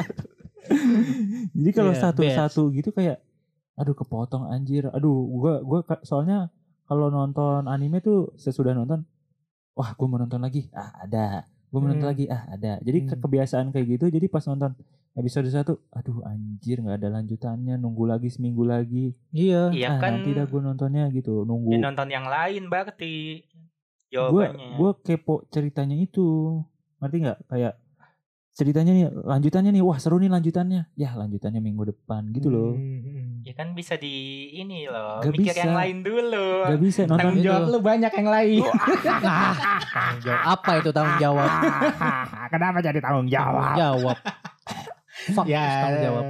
Speaker 3: Jadi kalau
Speaker 2: Iya,
Speaker 3: satu-satu gitu kayak Aduh kepotong anjir Aduh gue gua, ka- soalnya kalau nonton anime tuh sesudah nonton Wah gue mau nonton lagi Ah ada Gue mau nonton
Speaker 2: Hmm.
Speaker 3: lagi Ah ada Jadi ke-
Speaker 2: Hmm.
Speaker 3: kebiasaan kayak gitu Jadi pas nonton episode satu Aduh anjir gak ada lanjutannya Nunggu lagi seminggu lagi
Speaker 2: Iya.
Speaker 3: ah,
Speaker 5: iya kan
Speaker 3: Nanti dah gue nontonnya gitu Nunggu
Speaker 5: ya nonton yang lain berarti
Speaker 3: gue
Speaker 5: jawabannya
Speaker 3: gue kepo ceritanya itu ngerti nggak kayak ceritanya nih lanjutannya nih wah seru nih lanjutannya ya lanjutannya minggu depan gitu loh
Speaker 4: Hmm.
Speaker 5: ya kan bisa di ini loh
Speaker 3: Gak
Speaker 5: mikir
Speaker 3: bisa.
Speaker 5: yang lain dulu
Speaker 3: nggak bisa nonton
Speaker 4: Tanggung jawab
Speaker 2: Itu.
Speaker 4: lu banyak yang lain.
Speaker 2: Nah, tanggung jawab. apa itu tanggung jawab?
Speaker 4: Kenapa jadi
Speaker 2: Tanggung
Speaker 4: tanggung jawab?
Speaker 2: jawab. Fuck,
Speaker 4: Ya,
Speaker 2: tanggung jawab.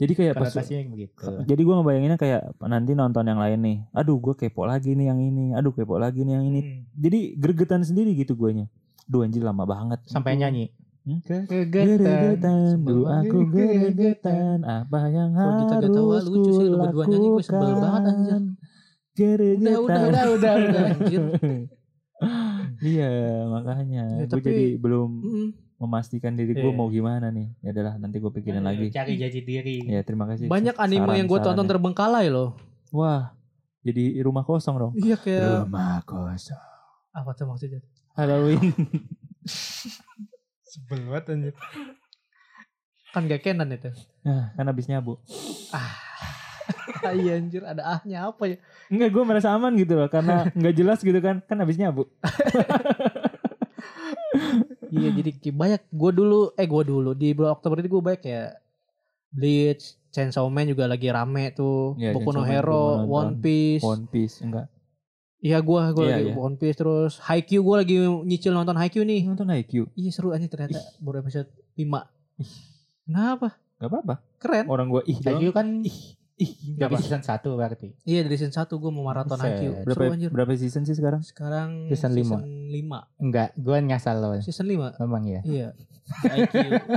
Speaker 3: jadi kayak pas
Speaker 4: konotasinya begitu.
Speaker 3: jadi gue ngebayanginnya kayak nanti nonton yang lain nih aduh gue kepo lagi nih yang ini aduh kepo lagi nih yang
Speaker 4: Hmm.
Speaker 3: ini jadi gregetan sendiri gitu guanya Duh anjir lama banget
Speaker 4: Sampai nyanyi.
Speaker 3: Hmm?
Speaker 4: Kegetan.
Speaker 3: Gregetan, dulu aku
Speaker 4: Sebelum-
Speaker 3: gregetan, apa yang
Speaker 2: Kok kita gak tahu, ah,
Speaker 3: harus
Speaker 2: lucu sih lu berdua nyanyi, gue sebel banget, anjir.
Speaker 3: kulakukan?
Speaker 2: Udah,
Speaker 3: Gregetan.
Speaker 2: udah, udah, udah, udah, anjir.
Speaker 3: Iya makanya
Speaker 2: Ya,
Speaker 3: gue
Speaker 2: tapi-
Speaker 3: jadi belum
Speaker 2: Mm,
Speaker 3: memastikan diri gue
Speaker 2: Iya.
Speaker 3: mau gimana nih ya adalah nanti gue pikirin lagi
Speaker 4: Cari jati diri.
Speaker 3: ya terima kasih
Speaker 2: iya. Banyak anime yang gue tonton
Speaker 3: sarannya.
Speaker 2: terbengkalai loh.
Speaker 3: wah jadi rumah kosong dong
Speaker 2: Iya kayak
Speaker 3: rumah kosong
Speaker 2: apa tuh maksudnya?
Speaker 3: Halloween
Speaker 4: Sebel banget anjir.
Speaker 2: Kan gak canon itu.
Speaker 3: Nah, kan habis nyabu.
Speaker 2: Ah, Iya anjir ada ahnya apa ya?
Speaker 3: Enggak, gue merasa aman gitu loh karena nggak jelas gitu kan. Kan habis nyabu.
Speaker 2: Iya jadi kayak banyak gue dulu eh gue dulu di bulan Oktober itu gue banyak ya Bleach, Chainsaw Man juga lagi rame tuh,
Speaker 3: Iya,
Speaker 2: Boku no
Speaker 3: Chainsaw Man
Speaker 2: Hero,
Speaker 3: gua nonton.
Speaker 2: One Piece.
Speaker 3: One Piece enggak.
Speaker 2: Iya gue gue
Speaker 3: Iya,
Speaker 2: lagi
Speaker 3: iya.
Speaker 2: One Piece terus Haikyuu gue lagi nyicil nonton Haikyuu
Speaker 3: Ih,
Speaker 2: nih.
Speaker 3: nonton IQ.
Speaker 2: Iya seru aja ternyata
Speaker 3: Ih.
Speaker 2: baru episode 5. Kenapa?
Speaker 3: Gak apa-apa.
Speaker 2: Keren.
Speaker 3: Orang gue ih doang.
Speaker 4: IQ kan
Speaker 3: Ih, nggak
Speaker 4: dari
Speaker 3: apa.
Speaker 4: season 1 berarti.
Speaker 2: Iya dari season 1 gue mau maraton
Speaker 4: Buset.
Speaker 2: Haikyuu.
Speaker 3: Berapa
Speaker 2: Seru anjir.
Speaker 3: berapa season sih sekarang?
Speaker 2: Sekarang
Speaker 4: Season lima.
Speaker 2: lima.
Speaker 4: Enggak, gue ngasal loh.
Speaker 2: Season 5.
Speaker 4: Memang ya.
Speaker 2: Iya. Haikyuu.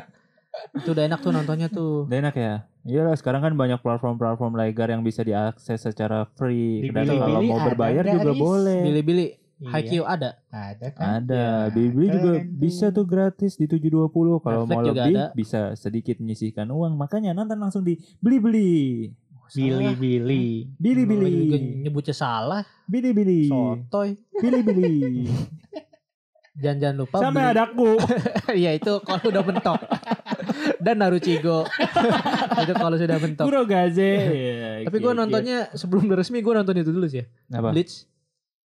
Speaker 2: itu udah enak tuh nontonnya tuh.
Speaker 3: Udah enak ya. Iya lah, sekarang kan banyak platform-platform legal yang bisa diakses secara free.
Speaker 4: Di
Speaker 3: Dan kalau
Speaker 4: Bilibili
Speaker 3: mau
Speaker 4: ada
Speaker 3: berbayar
Speaker 4: gratis.
Speaker 3: juga boleh.
Speaker 2: Bilibili
Speaker 4: Iya,
Speaker 2: Haikyuu ada.
Speaker 4: ada kan?
Speaker 3: Ada,
Speaker 4: Ya,
Speaker 3: Bilibili juga
Speaker 4: keren tuh.
Speaker 3: bisa tuh gratis di 720 kalau
Speaker 2: Netflix
Speaker 3: mau
Speaker 2: juga
Speaker 3: lebih
Speaker 2: ada.
Speaker 3: bisa sedikit menyisihkan uang. Makanya nonton langsung di Bilibili.
Speaker 4: Billy-billy.
Speaker 3: Bilibili.
Speaker 2: Lu juga nyebutnya salah.
Speaker 3: Bilibili.
Speaker 2: Sotoy.
Speaker 3: Bilibili.
Speaker 2: Jangan-jangan lupa.
Speaker 3: Sampai
Speaker 2: beli-
Speaker 3: adaku.
Speaker 2: Iya itu kalau udah mentok. Dan Naruchigo. itu kalau sudah mentok.
Speaker 3: Kurogaze.
Speaker 2: Tapi gue nontonnya sebelum resmi gue nonton itu dulu sih ya.
Speaker 3: Apa?
Speaker 2: Bleach.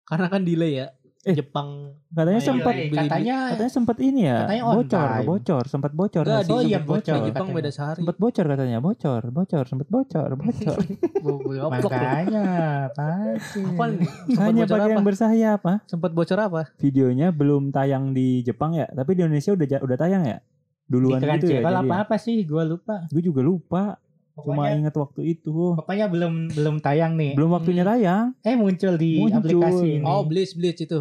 Speaker 2: Karena kan delay ya.
Speaker 3: Eh.
Speaker 2: Jepang.
Speaker 3: Katanya
Speaker 2: Ayo,
Speaker 3: sempat
Speaker 2: ayo.
Speaker 4: Katanya
Speaker 3: katanya sempat ini ya.
Speaker 4: Katanya on
Speaker 3: bocor,
Speaker 4: time.
Speaker 3: bocor, sempat bocor.
Speaker 2: Enggak, di,
Speaker 3: nggak sih?
Speaker 4: Oh iya,
Speaker 2: Jepang- di
Speaker 4: bocor
Speaker 2: Jepang
Speaker 4: katanya.
Speaker 2: beda sehari.
Speaker 3: Sempat bocor katanya, bocor, bocor, sempat bocor, bocor.
Speaker 2: Goblok lu.
Speaker 4: makanya pasti.
Speaker 2: Apaan? Sempat
Speaker 3: Hanya
Speaker 2: bocor
Speaker 3: bagi
Speaker 2: apa?
Speaker 3: yang bersayap, ah.
Speaker 2: Sempat bocor apa?
Speaker 3: videonya belum tayang di Jepang ya, tapi di Indonesia udah ja- udah tayang ya. Duluan
Speaker 4: Pikiran
Speaker 3: gitu ya.
Speaker 4: Jebel
Speaker 3: jadi
Speaker 4: apa
Speaker 3: ya.
Speaker 4: apa sih? Gue lupa.
Speaker 3: Gue juga lupa, cuma
Speaker 4: Pokoknya,
Speaker 3: inget waktu itu.
Speaker 4: pokoknya belum belum tayang nih.
Speaker 3: Belum waktunya
Speaker 2: Hmm.
Speaker 3: tayang.
Speaker 4: Eh muncul di
Speaker 3: Muncul.
Speaker 4: aplikasi ini.
Speaker 2: Oh, Bleach Bleach itu.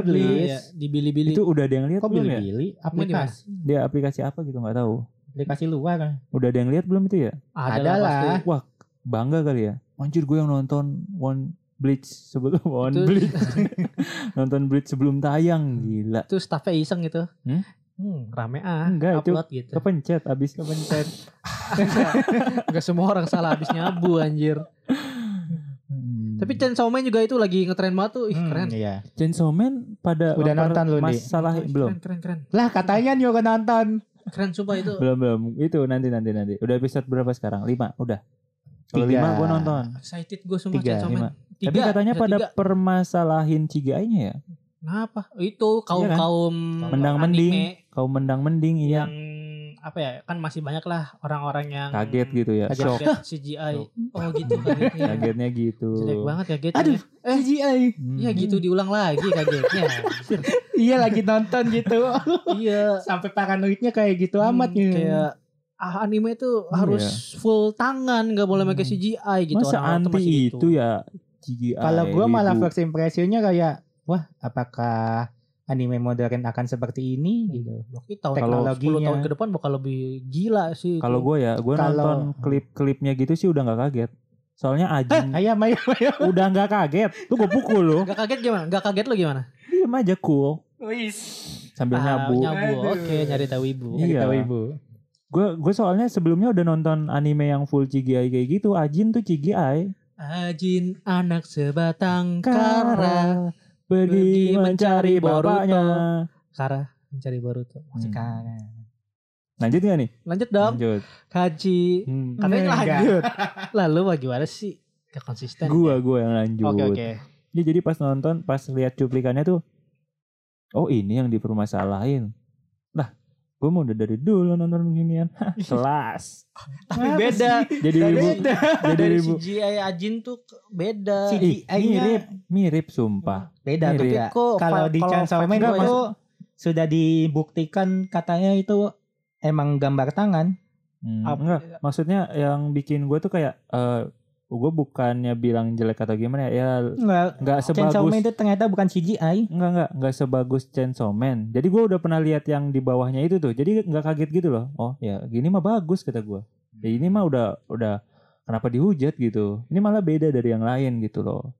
Speaker 3: iya, Bleach.
Speaker 4: beli.
Speaker 2: Iya, di Bilibili.
Speaker 3: Itu udah ada yang lihat
Speaker 4: Kok
Speaker 3: belum ya?
Speaker 4: beli-bili?
Speaker 2: Ini di mana?
Speaker 4: Aplikasi,
Speaker 3: Dia aplikasi apa gitu nggak tahu.
Speaker 4: aplikasi luar.
Speaker 3: Udah ada yang lihat belum itu ya?
Speaker 4: adalah.
Speaker 2: pasti.
Speaker 3: Wah, bangga kali ya. Anjir gue yang nonton One Bleach sebelum One
Speaker 2: Itu-
Speaker 3: Bleach. nonton Bleach sebelum tayang, gila.
Speaker 2: Itu staffnya iseng gitu.
Speaker 3: Hmm?
Speaker 2: Hmm, rame ah.
Speaker 3: Enggak, itu
Speaker 2: upload gitu.
Speaker 3: Kepencet abis kepencet.
Speaker 2: Enggak semua orang salah habis nyabu anjir.
Speaker 3: Hmm.
Speaker 2: Tapi Chainsaw Man juga itu lagi ngetren banget tuh. Ih,
Speaker 4: Hmm,
Speaker 2: keren.
Speaker 4: Iya.
Speaker 3: Chainsaw Man pada
Speaker 4: Udah
Speaker 3: lempar
Speaker 4: nonton lu, Di?
Speaker 3: masalah
Speaker 2: Ih,
Speaker 3: belum?
Speaker 2: Keren, keren, keren.
Speaker 4: Lah katanya nyuruh nonton.
Speaker 2: Keren sumpah itu.
Speaker 3: belum belum itu nanti nanti nanti udah episode berapa sekarang lima udah kalau
Speaker 4: Tiga.
Speaker 3: lima gue nonton
Speaker 2: Excited gue sumpah
Speaker 3: Tiga,
Speaker 2: Chainsaw Man. Tiga,
Speaker 3: tapi katanya
Speaker 2: episode
Speaker 3: pada
Speaker 2: tiga.
Speaker 3: permasalahin CGI-nya ya
Speaker 2: Kenapa? Itu kaum
Speaker 3: kan?
Speaker 2: kaum
Speaker 3: Mendang
Speaker 2: anime
Speaker 3: mending. kau mendang mending iya
Speaker 2: yang apa ya kan masih banyak lah orang-orang yang
Speaker 3: kaget gitu ya
Speaker 4: Kaget.
Speaker 3: shock
Speaker 2: Iya. kaget CGI oh gitu kagetnya
Speaker 3: kagetnya gitu
Speaker 2: jelek banget kagetnya
Speaker 4: Aduh, CGI.
Speaker 3: Hmm.
Speaker 2: ya gitu diulang lagi kagetnya Anjir.
Speaker 4: Iya lagi nonton gitu.
Speaker 2: iya
Speaker 4: Sampai paranoidnya kayak gitu
Speaker 2: Hmm,
Speaker 4: amat ya.
Speaker 2: kayak ah, anime itu
Speaker 3: Iya.
Speaker 2: harus full tangan nggak boleh pakai
Speaker 3: Hmm.
Speaker 2: CGI gitu
Speaker 3: masa
Speaker 2: orang-orang tuh
Speaker 3: anti
Speaker 2: masih
Speaker 3: itu. ya CGI
Speaker 4: Kalau gue malah
Speaker 3: gitu.
Speaker 4: first impressionnya kayak wah apakah anime modern akan seperti ini gitu.
Speaker 2: Tapi tahun
Speaker 4: Kalau-
Speaker 2: 10 tahun ke depan bakal lebih gila sih itu.
Speaker 3: kalau gue ya gue
Speaker 4: Kalau-
Speaker 3: nonton klip-klipnya gitu sih udah nggak kaget soalnya
Speaker 2: Eh,
Speaker 3: Ajin
Speaker 4: Hmm. Ayam ayam ayam.
Speaker 3: udah nggak kaget tuh gue pukul lo
Speaker 2: Gak kaget gimana? Gak kaget lo gimana?
Speaker 3: diem aja cool
Speaker 5: Wis.
Speaker 3: sambil
Speaker 2: Ah,
Speaker 3: nyabu
Speaker 2: nyabu.
Speaker 5: Aduh.
Speaker 2: Oke, nyari tahu ibu.
Speaker 3: Iya.
Speaker 4: Kita wibu.
Speaker 3: Gue gue soalnya sebelumnya udah nonton anime yang full CGI kayak gitu. Ajin tuh CGI.
Speaker 2: Ajin anak sebatang kara.
Speaker 3: pergi
Speaker 2: pergi mencari
Speaker 3: mencari bapaknya.
Speaker 2: Kara mencari Boruto. Masih
Speaker 3: Hmm.
Speaker 2: kara.
Speaker 3: Lanjut gak nih?
Speaker 2: Lanjut dong.
Speaker 3: Lanjut.
Speaker 2: Kaji.
Speaker 3: Hmm.
Speaker 2: Katanya
Speaker 4: Enggak.
Speaker 2: lanjut. Lalu bagaimana sih? Gak konsisten.
Speaker 3: Gua gua yang lanjut.
Speaker 2: Oke, oke.
Speaker 3: Ya, jadi pas nonton, pas lihat cuplikannya tuh, oh ini yang dipermasalahin. Lah, gue mau udah dari dulu nonton beginian. Hah, Kelas.
Speaker 2: Tapi
Speaker 4: Apa
Speaker 2: beda.
Speaker 3: Jadi ibu, jadi
Speaker 2: Dari
Speaker 3: ibu.
Speaker 2: CGI Ajin tuh beda.
Speaker 4: Si-
Speaker 3: Ih,
Speaker 4: CGI-nya.
Speaker 3: mirip, mirip sumpah.
Speaker 4: Beda
Speaker 3: Mirip.
Speaker 4: tuh ya. Kalau di Chainsaw Man
Speaker 3: enggak,
Speaker 4: itu sudah dibuktikan katanya itu emang gambar tangan.
Speaker 3: Hmm,
Speaker 2: Apa-
Speaker 3: enggak, maksudnya yang bikin gue tuh kayak eh gue bukannya bilang jelek atau gimana ya, ya
Speaker 4: Enggak.
Speaker 3: nggak
Speaker 4: Chainsaw Man
Speaker 3: sebagus
Speaker 4: itu ternyata bukan CGI.
Speaker 3: enggak enggak enggak sebagus Chainsaw Man. Jadi gue udah pernah lihat yang di bawahnya itu tuh. Jadi nggak kaget gitu loh. Oh ya gini mah bagus kata gue. Ya, ini mah udah udah kenapa dihujat gitu. Ini malah beda dari yang lain gitu loh.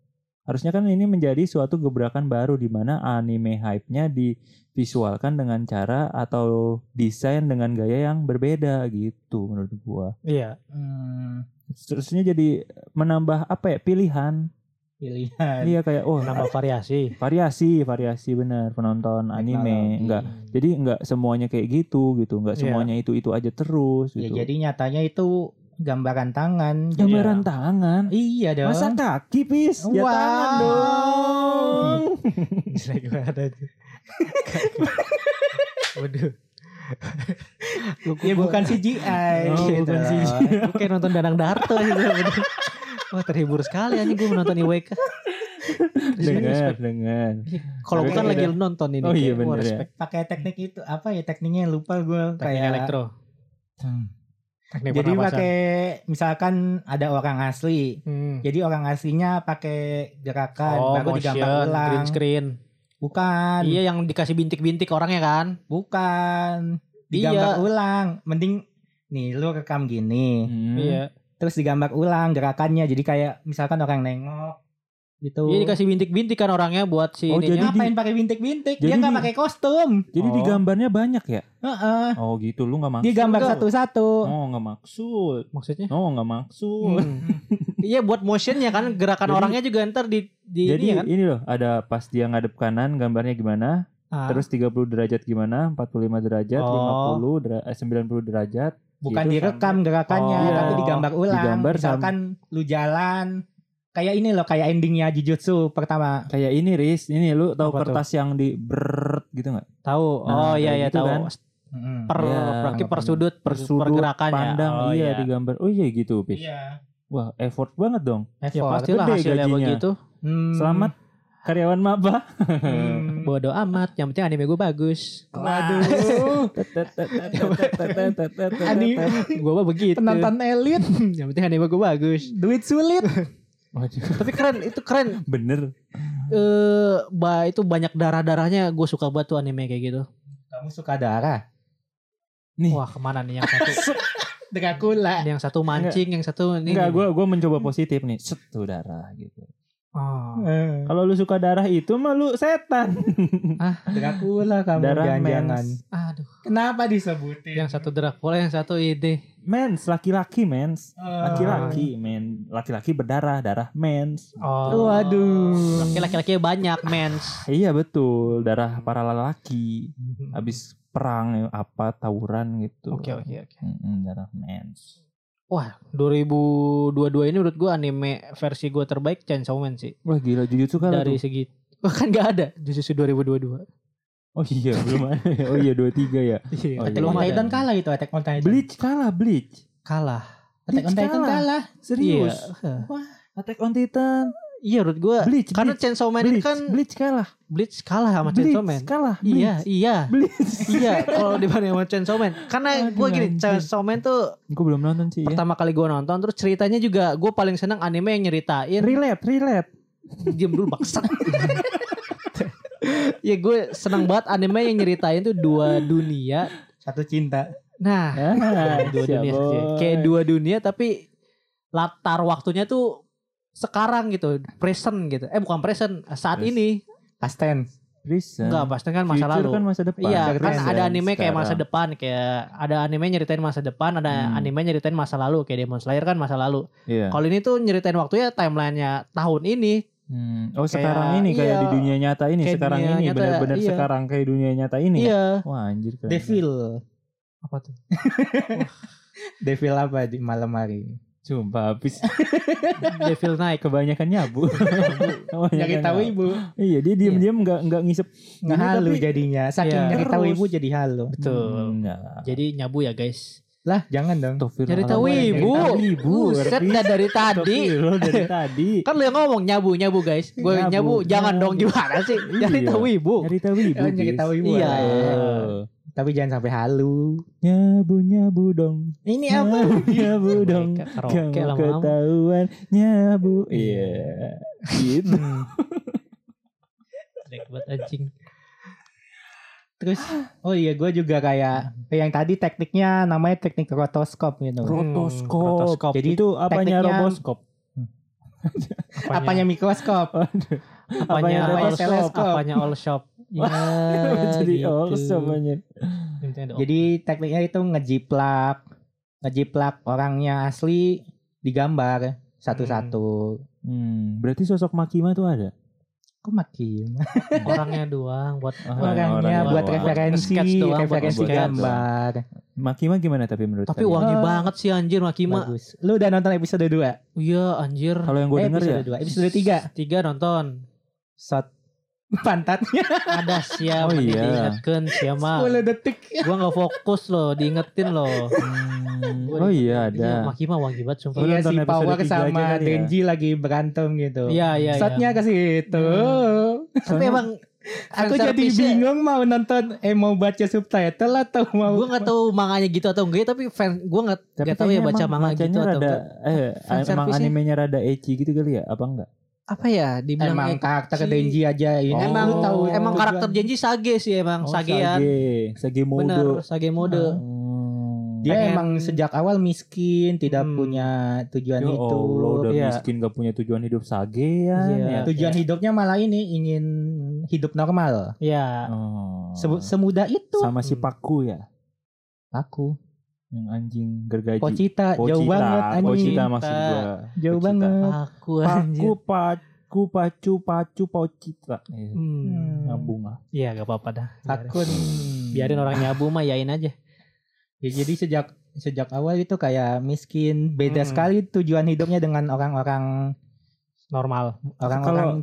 Speaker 3: Harusnya kan ini menjadi suatu gebrakan baru di mana anime hype-nya divisualkan dengan cara atau desain dengan gaya yang berbeda gitu menurut gue
Speaker 2: Iya.
Speaker 4: Hmm.
Speaker 3: seterusnya jadi menambah apa ya pilihan
Speaker 4: pilihan
Speaker 3: Iya kayak oh
Speaker 2: Nambah variasi.
Speaker 3: variasi variasi bener penonton anime
Speaker 4: Teknologi.
Speaker 3: enggak jadi enggak semuanya kayak gitu gitu enggak
Speaker 2: Iya.
Speaker 3: semuanya itu itu aja terus
Speaker 4: Ya,
Speaker 3: gitu
Speaker 4: jadi nyatanya itu gambaran tangan.
Speaker 3: gambaran
Speaker 5: Iya.
Speaker 3: tangan
Speaker 4: Iya dong.
Speaker 3: masa kaki pis ya
Speaker 4: Wow.
Speaker 3: tangan dong
Speaker 4: Jelek banget aja.
Speaker 2: Waduh.
Speaker 4: ya bukan CGI.
Speaker 2: Oh,
Speaker 4: gitu.
Speaker 2: bukan CGI. Gue kayak nonton Danang Darto gitu. Wah terhibur sekali anjing gue menonton IWK. Respect,
Speaker 3: dengar
Speaker 2: respect.
Speaker 3: dengar
Speaker 2: Kalau gue kan
Speaker 3: Iya. Tapi
Speaker 2: lagi
Speaker 3: beda.
Speaker 2: nonton ini.
Speaker 3: Oh iya,
Speaker 2: kayak, wah,
Speaker 3: bener ya.
Speaker 2: respect.
Speaker 4: Pakai teknik itu apa ya tekniknya lupa gue
Speaker 2: Teknik
Speaker 4: kayak
Speaker 2: elektro.
Speaker 4: Hmm.
Speaker 2: Teknik
Speaker 4: Jadi
Speaker 2: pernapasan.
Speaker 4: pakai misalkan ada orang asli.
Speaker 2: Hmm.
Speaker 4: Jadi orang aslinya pakai gerakan
Speaker 2: Oh,
Speaker 4: Kan, baru
Speaker 2: gue
Speaker 4: digambar
Speaker 2: digambar
Speaker 4: ulang. Kan.
Speaker 2: green screen.
Speaker 4: Bukan,
Speaker 2: Iya yang dikasih bintik-bintik orangnya kan.
Speaker 4: bukan.
Speaker 2: Iya.
Speaker 4: Digambar ulang. Mending nih lu rekam gini.
Speaker 3: Hmm.
Speaker 2: Iya.
Speaker 4: Terus digambar ulang gerakannya. Jadi kayak misalkan orang nengok gitu.
Speaker 2: Iya dikasih bintik-bintik kan orangnya buat si
Speaker 3: Oh,
Speaker 2: ininya.
Speaker 4: Ngapain pakai bintik-bintik?
Speaker 3: Jadi
Speaker 4: Dia nggak
Speaker 3: di-
Speaker 4: pakai kostum.
Speaker 3: jadi
Speaker 2: Oh.
Speaker 3: di gambarnya banyak ya
Speaker 4: Heeh. Gitu.
Speaker 3: oh gitu lu nggak maksud
Speaker 4: Dia gambar
Speaker 3: Enggak.
Speaker 4: satu-satu.
Speaker 3: oh nggak maksud
Speaker 2: Maksudnya?
Speaker 3: oh nggak maksud
Speaker 2: Hmm. iya buat motionnya kan gerakan
Speaker 3: Jadi-
Speaker 2: orangnya juga ntar di di ini
Speaker 3: jadi ini,
Speaker 2: ya kan.
Speaker 3: loh ada pas dia ngadep kanan gambarnya gimana
Speaker 2: Ah,
Speaker 3: terus 30 derajat gimana 45 derajat
Speaker 2: Oh.
Speaker 3: 50 dera- eh, 90 derajat
Speaker 4: Bukan
Speaker 3: Gitu,
Speaker 4: direkam gerakannya,
Speaker 3: Oh, iya.
Speaker 4: tapi digambar ulang.
Speaker 3: Digambar sama-
Speaker 4: misalkan lu jalan kayak ini loh, kayak endingnya Jujutsu pertama.
Speaker 3: kayak ini Riz ini lu
Speaker 2: Apa
Speaker 3: tahu
Speaker 2: tuh?
Speaker 3: kertas yang di brrrt gitu nggak
Speaker 2: tahu.
Speaker 3: Nah,
Speaker 2: oh iya
Speaker 3: kayak
Speaker 2: iya
Speaker 3: gitu
Speaker 2: tahu.
Speaker 3: kan.
Speaker 4: Mm-mm.
Speaker 2: Per
Speaker 3: Iya,
Speaker 2: berarti per
Speaker 3: ngapain.
Speaker 2: sudut per,
Speaker 3: Persudut,
Speaker 2: pergerakan ya.
Speaker 3: pandang
Speaker 2: Oh,
Speaker 3: iya, digambar oh iya gitu Pis
Speaker 4: Iya.
Speaker 3: wah effort banget dong
Speaker 2: Ya
Speaker 4: effort.
Speaker 2: pastilah
Speaker 3: Gede
Speaker 2: hasilnya
Speaker 3: gajinya.
Speaker 2: begitu.
Speaker 4: Hmm.
Speaker 3: selamat karyawan maba
Speaker 4: Hmm.
Speaker 2: Bodoh amat, yang penting anime gue bagus.
Speaker 4: Waduh. Ani
Speaker 2: gue mah begitu.
Speaker 4: penonton elit,
Speaker 2: yang penting anime gue bagus.
Speaker 4: duit sulit.
Speaker 3: Waduh,
Speaker 2: Tapi keren, itu keren.
Speaker 3: bener
Speaker 2: Eh, ba, itu banyak darah-darahnya gue suka banget tuh anime kayak gitu.
Speaker 4: Kamu suka darah?
Speaker 3: Ih.
Speaker 2: Wah, kemana nih yang satu?
Speaker 4: Dracula.
Speaker 2: yang satu mancing, yang satu ini.
Speaker 3: Enggak, gue gua mencoba positif nih. Set tuh darah gitu.
Speaker 2: Oh.
Speaker 4: Eh,
Speaker 3: Iya. Kalau lu suka darah itu mah lu setan.
Speaker 4: Dracula kamu
Speaker 3: Darah
Speaker 4: jangan-jangan.
Speaker 3: mens.
Speaker 2: Aduh,
Speaker 4: Kenapa disebutin?
Speaker 2: yang satu Dracula, yang satu ide.
Speaker 3: Mens, laki-laki mens.
Speaker 4: Eh,
Speaker 2: Ah.
Speaker 3: Laki-laki men, laki-laki berdarah, darah mens.
Speaker 2: Oh.
Speaker 4: Waduh.
Speaker 2: Laki- Laki-laki banyak mens.
Speaker 3: Iya betul, darah para lelaki habis perang eh, apa tawuran gitu.
Speaker 2: Mhm. Oke, oke, oke.
Speaker 3: Mm-mm, darah mens.
Speaker 2: Wah, 2022 ini menurut gue anime versi gue terbaik Chainsaw Man sih.
Speaker 3: Wah gila Jujutsu kan
Speaker 2: Dari
Speaker 3: tuh.
Speaker 2: segi Wah kan gak ada Jujutsu 2022
Speaker 3: Oh iya belum ada. ya. Oh iya 23 ya.
Speaker 2: Iya
Speaker 3: Oh,
Speaker 4: Attack on
Speaker 3: iya.
Speaker 4: Titan kalah itu Attack on Titan.
Speaker 3: Bleach kalah Bleach.
Speaker 2: Kalah
Speaker 4: Attack on Titan kalah.
Speaker 3: Serius.
Speaker 2: Iya,
Speaker 3: Attack on Titan.
Speaker 2: iya menurut gue
Speaker 3: Bleach.
Speaker 2: Karena
Speaker 3: Bleach.
Speaker 2: Chainsaw Man
Speaker 3: Bleach,
Speaker 2: itu kan
Speaker 3: Bleach kalah.
Speaker 2: Bleach kalah sama
Speaker 3: Bleach
Speaker 2: Chainsaw Man
Speaker 3: kalah.
Speaker 2: Iya
Speaker 3: Bleach.
Speaker 2: iya
Speaker 3: Bleach.
Speaker 2: Iya kalau dibanding sama Chainsaw Man Karena
Speaker 3: Aduh,
Speaker 2: gue gini
Speaker 3: anjir.
Speaker 2: Chainsaw Man tuh
Speaker 3: Gue belum nonton sih. ya.
Speaker 2: Pertama kali gue nonton Terus ceritanya juga Gue paling seneng anime yang nyeritain
Speaker 3: Relate, relate.
Speaker 2: Diam dulu bangsat Ya gue seneng banget anime yang nyeritain tuh dua dunia
Speaker 4: Satu cinta.
Speaker 2: Nah
Speaker 3: Ah,
Speaker 2: dua dunia
Speaker 3: siap,
Speaker 2: sih.
Speaker 3: boy.
Speaker 2: kayak dua dunia tapi latar waktunya tuh sekarang gitu present gitu eh bukan present saat
Speaker 3: Present.
Speaker 2: ini
Speaker 4: Past tense.
Speaker 3: Prison.
Speaker 2: enggak pasti kan masa
Speaker 3: Future
Speaker 2: lalu
Speaker 3: kan masa depan.
Speaker 2: iya
Speaker 4: Present
Speaker 2: kan ada anime kayak masa
Speaker 3: sekarang.
Speaker 2: depan kayak ada anime nyeritain masa depan ada
Speaker 3: Hmm.
Speaker 2: anime nyeritain masa lalu kayak Demon Slayer kan masa lalu
Speaker 3: Iya.
Speaker 2: kalau ini tuh nyeritain waktunya timelinenya tahun ini
Speaker 3: Hmm. Oh
Speaker 2: Kayak-
Speaker 3: sekarang ini kayak
Speaker 2: iya.
Speaker 3: di dunia nyata ini
Speaker 2: Kayak
Speaker 3: sekarang
Speaker 2: dunia
Speaker 3: ini
Speaker 2: nyata,
Speaker 3: benar-benar
Speaker 2: iya.
Speaker 3: sekarang kayak dunia nyata ini. ya?
Speaker 2: iya
Speaker 3: Wah anjir keren.
Speaker 4: Devil.
Speaker 2: apa tuh
Speaker 4: Devil apa di malam hari?
Speaker 3: Sumpah habis
Speaker 2: Devil Knight
Speaker 3: kebanyakan nyabu. Kebanyakan
Speaker 2: iya,
Speaker 4: Nyari tahu
Speaker 3: nyabu.
Speaker 4: ibu.
Speaker 3: Iya dia diam-diam nggak nggak ngisep.
Speaker 4: Nggak
Speaker 3: Ini
Speaker 4: halu
Speaker 3: tapi-
Speaker 4: jadinya. Saking
Speaker 2: Iya.
Speaker 4: nyari tahu
Speaker 3: Terus.
Speaker 4: ibu jadi halu.
Speaker 2: betul
Speaker 3: Hmm, nggak.
Speaker 2: jadi nyabu ya guys
Speaker 4: Lah jangan dong.
Speaker 2: nyari
Speaker 3: Astagfirullahaladzim.
Speaker 2: tahu ibu
Speaker 3: Nyari tahu ibu.
Speaker 2: Buset dah dari tadi
Speaker 3: Astagfirullah, dari tadi.
Speaker 2: Kan lu yang ngomong nyabu nyabu guys. Gue
Speaker 3: Nyabu,
Speaker 2: nyabu, jangan
Speaker 3: nyabu.
Speaker 2: dong gimana sih? Jadi
Speaker 3: Iya.
Speaker 2: tahu ibu.
Speaker 3: Nyari tahu ibu.
Speaker 4: Eh, nyari
Speaker 3: Gis.
Speaker 4: tahu ibu.
Speaker 2: Iya.
Speaker 4: Eh,
Speaker 3: Eh.
Speaker 4: Tapi jangan sampai halu.
Speaker 3: Nyabu nyabu dong.
Speaker 4: Ini
Speaker 3: Nyabu
Speaker 4: apa?
Speaker 3: nyabu dong.
Speaker 2: Kayak
Speaker 3: Kamu
Speaker 2: Karaoke lama-lama.
Speaker 3: ketahuan nyabu. Iya. Gitu.
Speaker 2: Jelek banget anjing.
Speaker 4: Terus oh iya gue juga kayak kayak yang tadi tekniknya namanya teknik rotoskop gitu.
Speaker 3: Rotoskop.
Speaker 2: rotoskop.
Speaker 3: Jadi itu apanya
Speaker 4: tekniknya-
Speaker 3: roboskop?
Speaker 4: Apanya mikroskop?
Speaker 2: apanya ya?
Speaker 3: apanya
Speaker 2: all shop,
Speaker 4: teleskop?
Speaker 2: apanya all shop. Ya,
Speaker 3: Jadi
Speaker 2: gitu.
Speaker 3: oh semuanya.
Speaker 2: Yang penting ada all-
Speaker 4: Jadi tekniknya itu ngejiplak, ngejiplak orangnya asli digambar satu-satu
Speaker 3: Hmm, berarti sosok Makima tuh ada.
Speaker 4: Kok makin
Speaker 2: orangnya doang buat
Speaker 3: Oh,
Speaker 4: orangnya,
Speaker 3: orangnya
Speaker 4: buat
Speaker 3: doang.
Speaker 4: referensi,
Speaker 2: Sketch doang buat
Speaker 4: referensi
Speaker 3: sketch.
Speaker 4: gambar.
Speaker 3: Makima gimana tapi menurut
Speaker 2: tapi ya.
Speaker 3: kalian?
Speaker 2: wangi
Speaker 4: Ah.
Speaker 2: banget sih anjir Makima
Speaker 4: Bagus. Lu udah nonton episode 2?
Speaker 2: iya anjir
Speaker 3: Kalau yang gue
Speaker 4: eh,
Speaker 3: denger
Speaker 4: episode
Speaker 3: ya.
Speaker 4: 2. Episode 3.
Speaker 2: tiga nonton
Speaker 4: Shot pantatnya
Speaker 2: ada siapa
Speaker 3: Oh,
Speaker 2: nih
Speaker 3: iya.
Speaker 2: diingetkan siapa
Speaker 4: 10 detik.
Speaker 2: gua nggak fokus loh diingetin loh
Speaker 3: Hmm, oh
Speaker 2: Iya,
Speaker 3: iya ada.
Speaker 2: Makima wangi banget sumpah
Speaker 3: Lu
Speaker 4: Iya
Speaker 3: nonton
Speaker 4: si
Speaker 3: episode
Speaker 4: Power
Speaker 3: tiga aja
Speaker 4: sama
Speaker 3: kali ya?
Speaker 4: Denji lagi berantem gitu.
Speaker 2: iya iya
Speaker 4: Shotnya
Speaker 2: iya.
Speaker 4: ke situ.
Speaker 2: tapi emang
Speaker 4: Aku jadi bingung mau nonton eh mau baca subtitle atau mau
Speaker 2: gue nggak tahu manganya gitu atau enggak tapi fan gue nggak
Speaker 3: Tapi
Speaker 2: nggak tahu ya
Speaker 3: kayaknya
Speaker 2: baca
Speaker 3: emang
Speaker 2: manga gitu
Speaker 3: bacanya
Speaker 2: atau
Speaker 3: rada,
Speaker 2: enggak.
Speaker 3: eh,
Speaker 2: Fan
Speaker 3: emang
Speaker 2: service-nya.
Speaker 3: animenya rada ecchi gitu kali ya? Apa enggak?
Speaker 2: apa ya dibilang ek-
Speaker 4: emang
Speaker 2: si-
Speaker 4: karakter Denji aja ini.
Speaker 2: emang
Speaker 4: Lu tahu ya,
Speaker 2: emang
Speaker 4: tujuan.
Speaker 2: karakter Genji sage sih emang
Speaker 3: Oh,
Speaker 2: sagean
Speaker 3: Sage, Sage
Speaker 2: bener
Speaker 3: Modo.
Speaker 2: sage
Speaker 3: Oh.
Speaker 2: mode
Speaker 3: Hmm.
Speaker 4: dia
Speaker 2: pengen-
Speaker 4: emang sejak awal miskin, tidak
Speaker 2: Hmm.
Speaker 4: punya
Speaker 3: Ya
Speaker 4: tujuan hidup.
Speaker 3: Allah, udah
Speaker 4: Iya.
Speaker 3: miskin gak punya tujuan hidup sagean
Speaker 2: Iya.
Speaker 3: ya.
Speaker 4: Tujuan hidupnya malah ini ingin hidup normal.
Speaker 2: ya
Speaker 3: Oh.
Speaker 4: Se- semudah itu.
Speaker 3: sama si Paku ya,
Speaker 4: Aku.
Speaker 3: yang anjing gergaji.
Speaker 4: Pocita, jauh
Speaker 3: Pocita,
Speaker 4: banget anjing.
Speaker 3: Pocita
Speaker 2: anjing.
Speaker 3: maksud gua.
Speaker 4: Jauh
Speaker 3: Pocita.
Speaker 4: banget.
Speaker 2: aku
Speaker 3: Paku
Speaker 2: anjir
Speaker 3: pacu pacu pacu pocita. Eh,
Speaker 2: Hmm.
Speaker 3: Nyambung lah.
Speaker 2: Iya gak apa-apa dah
Speaker 4: Aku
Speaker 2: Biarin orang nyabu mah yain aja
Speaker 4: Ya, jadi sejak sejak awal itu kayak miskin, beda
Speaker 5: Hmm.
Speaker 4: sekali tujuan hidupnya dengan orang-orang
Speaker 2: Normal
Speaker 4: orang-orang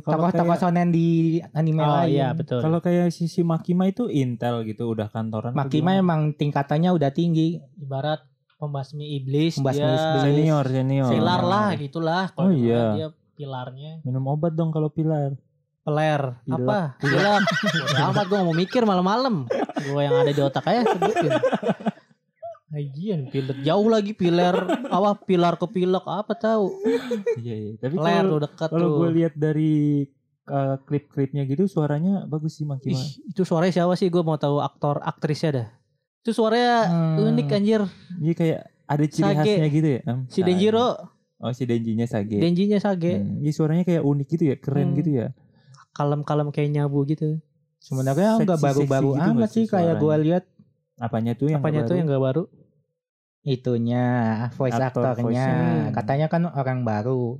Speaker 3: Kalau- kalau
Speaker 4: tokoh-tokoh
Speaker 3: kayak-
Speaker 4: sonen di anime
Speaker 2: Oh
Speaker 4: lain.
Speaker 2: iya betul
Speaker 3: Kalau kayak sisi Makima itu Intel gitu, udah kantoran. apa
Speaker 4: Makima
Speaker 3: gimana?
Speaker 4: emang tingkatannya udah tinggi.
Speaker 2: Ibarat pembasmi iblis
Speaker 4: Pembasmi
Speaker 2: dia
Speaker 4: iblis.
Speaker 3: Iya. senior senior.
Speaker 2: Pilar lah gitulah Kalau
Speaker 3: Oh,
Speaker 2: di mana
Speaker 3: iya.
Speaker 2: Dia pilarnya
Speaker 3: Minum obat dong kalau pilar.
Speaker 2: Peler
Speaker 3: Pilek.
Speaker 2: Apa? Pilek Bodo Amat gue gak mau mikir malam-malam Gue yang ada di otak aja sebutin Lagian pilar Jauh lagi pilar Apa pilar ke pilek Apa tahu
Speaker 3: Iya iya. Tapi
Speaker 2: Ler
Speaker 3: kalau
Speaker 2: tuh dekat
Speaker 3: kalau
Speaker 2: tuh
Speaker 3: gue lihat dari eh, klip-klipnya gitu suaranya bagus sih Makima.
Speaker 2: Ih, Itu suaranya siapa sih Gue mau tahu aktor aktrisnya dah Itu suaranya
Speaker 4: Hmm.
Speaker 2: unik ya. anjir
Speaker 3: Jadi Iya, kayak ada ciri
Speaker 2: Sage.
Speaker 3: khasnya gitu ya. Em,
Speaker 2: Si
Speaker 3: Sage.
Speaker 2: Denjiro
Speaker 3: Oh si Denjinya Sage.
Speaker 2: Denjinya Sage
Speaker 3: Hmm, iya, suaranya kayak unik gitu ya,
Speaker 2: Hmm.
Speaker 3: keren gitu ya.
Speaker 2: Kalem-kalem kayak nyabu gitu
Speaker 4: Sebenarnya nggak
Speaker 3: Seksi-seksi
Speaker 4: baru-baru
Speaker 3: gitu nggak
Speaker 4: amat
Speaker 3: sih
Speaker 4: sih kayak gua
Speaker 3: suaranya?
Speaker 4: lihat
Speaker 3: Apanya tuh yang
Speaker 2: Apanya tuh yang gak baru
Speaker 4: itunya voice
Speaker 3: Aktor,
Speaker 4: aktornya
Speaker 2: voice-nya.
Speaker 4: katanya kan orang baru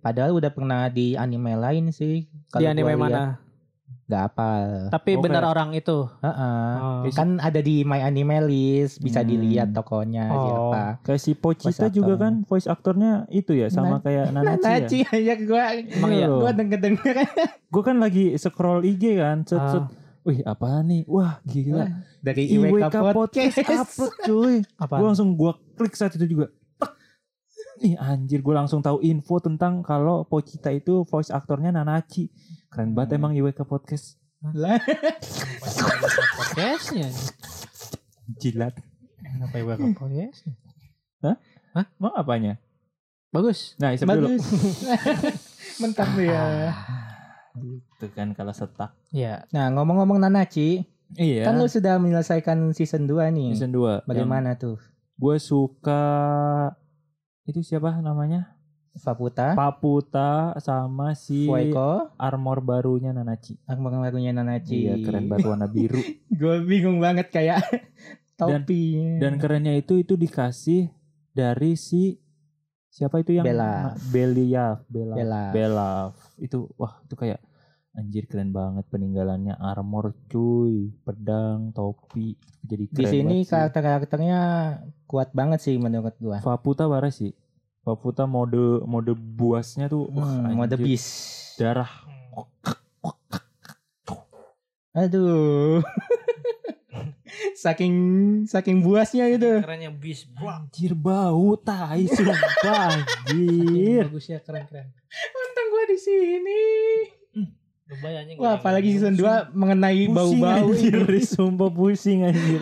Speaker 4: padahal udah pernah di anime lain sih
Speaker 2: Di anime mana
Speaker 4: nggak apa
Speaker 2: Tapi
Speaker 3: Oh,
Speaker 2: benar
Speaker 3: kayak-
Speaker 2: orang itu Oh.
Speaker 4: kan ada di my anime list bisa
Speaker 3: Hmm.
Speaker 4: dilihat tokonya
Speaker 2: Oh.
Speaker 4: siapa
Speaker 3: Kayak si Pochita
Speaker 4: Voice
Speaker 3: juga
Speaker 4: actor.
Speaker 3: kan voice aktornya itu ya
Speaker 2: Nah,
Speaker 3: sama kayak Nanachi, ya.
Speaker 4: Nah, Naci aja gua
Speaker 2: Emang iya?
Speaker 4: gua denger denger
Speaker 3: Gue kan lagi scroll IG kan, set set.
Speaker 2: Ah.
Speaker 3: Wih apa nih? Wah gila.
Speaker 4: dari
Speaker 3: IWK
Speaker 4: IWK
Speaker 3: Podcast
Speaker 4: podcast
Speaker 3: upload cuy.
Speaker 2: Apa?
Speaker 3: Gue langsung gue klik saat itu juga. Tek. Ih anjir gue langsung tahu info tentang kalau Pochita itu voice aktornya Nanachi. Keren banget emang IWK Podcast.
Speaker 4: Lah,
Speaker 2: Podcastnya
Speaker 3: Jilat.
Speaker 2: Kenapa ya podcastnya
Speaker 3: Mau apanya?
Speaker 2: Bagus
Speaker 3: Nah, isep dulu.
Speaker 4: bagus mentah tuh ya
Speaker 3: Itu kan kalau setak.
Speaker 2: Ya
Speaker 4: nah ngomong-ngomong Nanaci
Speaker 3: Iya.
Speaker 4: kan lu sudah menyelesaikan season 2 nih
Speaker 3: season 2.
Speaker 4: bagaimana tuh
Speaker 3: Gue suka itu siapa namanya?
Speaker 4: Faputa
Speaker 3: Paputa sama si
Speaker 4: Fueko
Speaker 3: armor barunya Nanachi.
Speaker 4: Akbar lagunya Nanachi
Speaker 3: Iya, keren banget warna biru.
Speaker 4: Gue bingung banget kayak topi
Speaker 3: Dan kerennya itu itu dikasih dari si siapa itu yang
Speaker 4: Belaf.
Speaker 3: Beliaf, Belaf.
Speaker 4: Belaf.
Speaker 3: Belaf. Itu wah, itu kayak anjir keren banget peninggalannya armor cuy, pedang, topi. Jadi keren
Speaker 4: di sini
Speaker 3: banget sih.
Speaker 4: karakter-karakternya kuat banget sih menurut gua.
Speaker 3: Faputa parah sih. Faputa mode mode buasnya tuh wah,
Speaker 4: Hmm, mode
Speaker 3: anjir.
Speaker 4: bis.
Speaker 3: darah.
Speaker 4: Aduh. saking saking buasnya itu.
Speaker 2: Kerennya bis
Speaker 3: Anjir bau tai sumpah anjir.
Speaker 2: Bagus ya keren-keren
Speaker 4: Untung gua di sini.
Speaker 2: Lumayan
Speaker 4: Wah, apalagi season 2
Speaker 3: Pusing
Speaker 4: mengenai bau-bau
Speaker 3: anjir,
Speaker 4: ini.
Speaker 3: sumpah pusing anjir.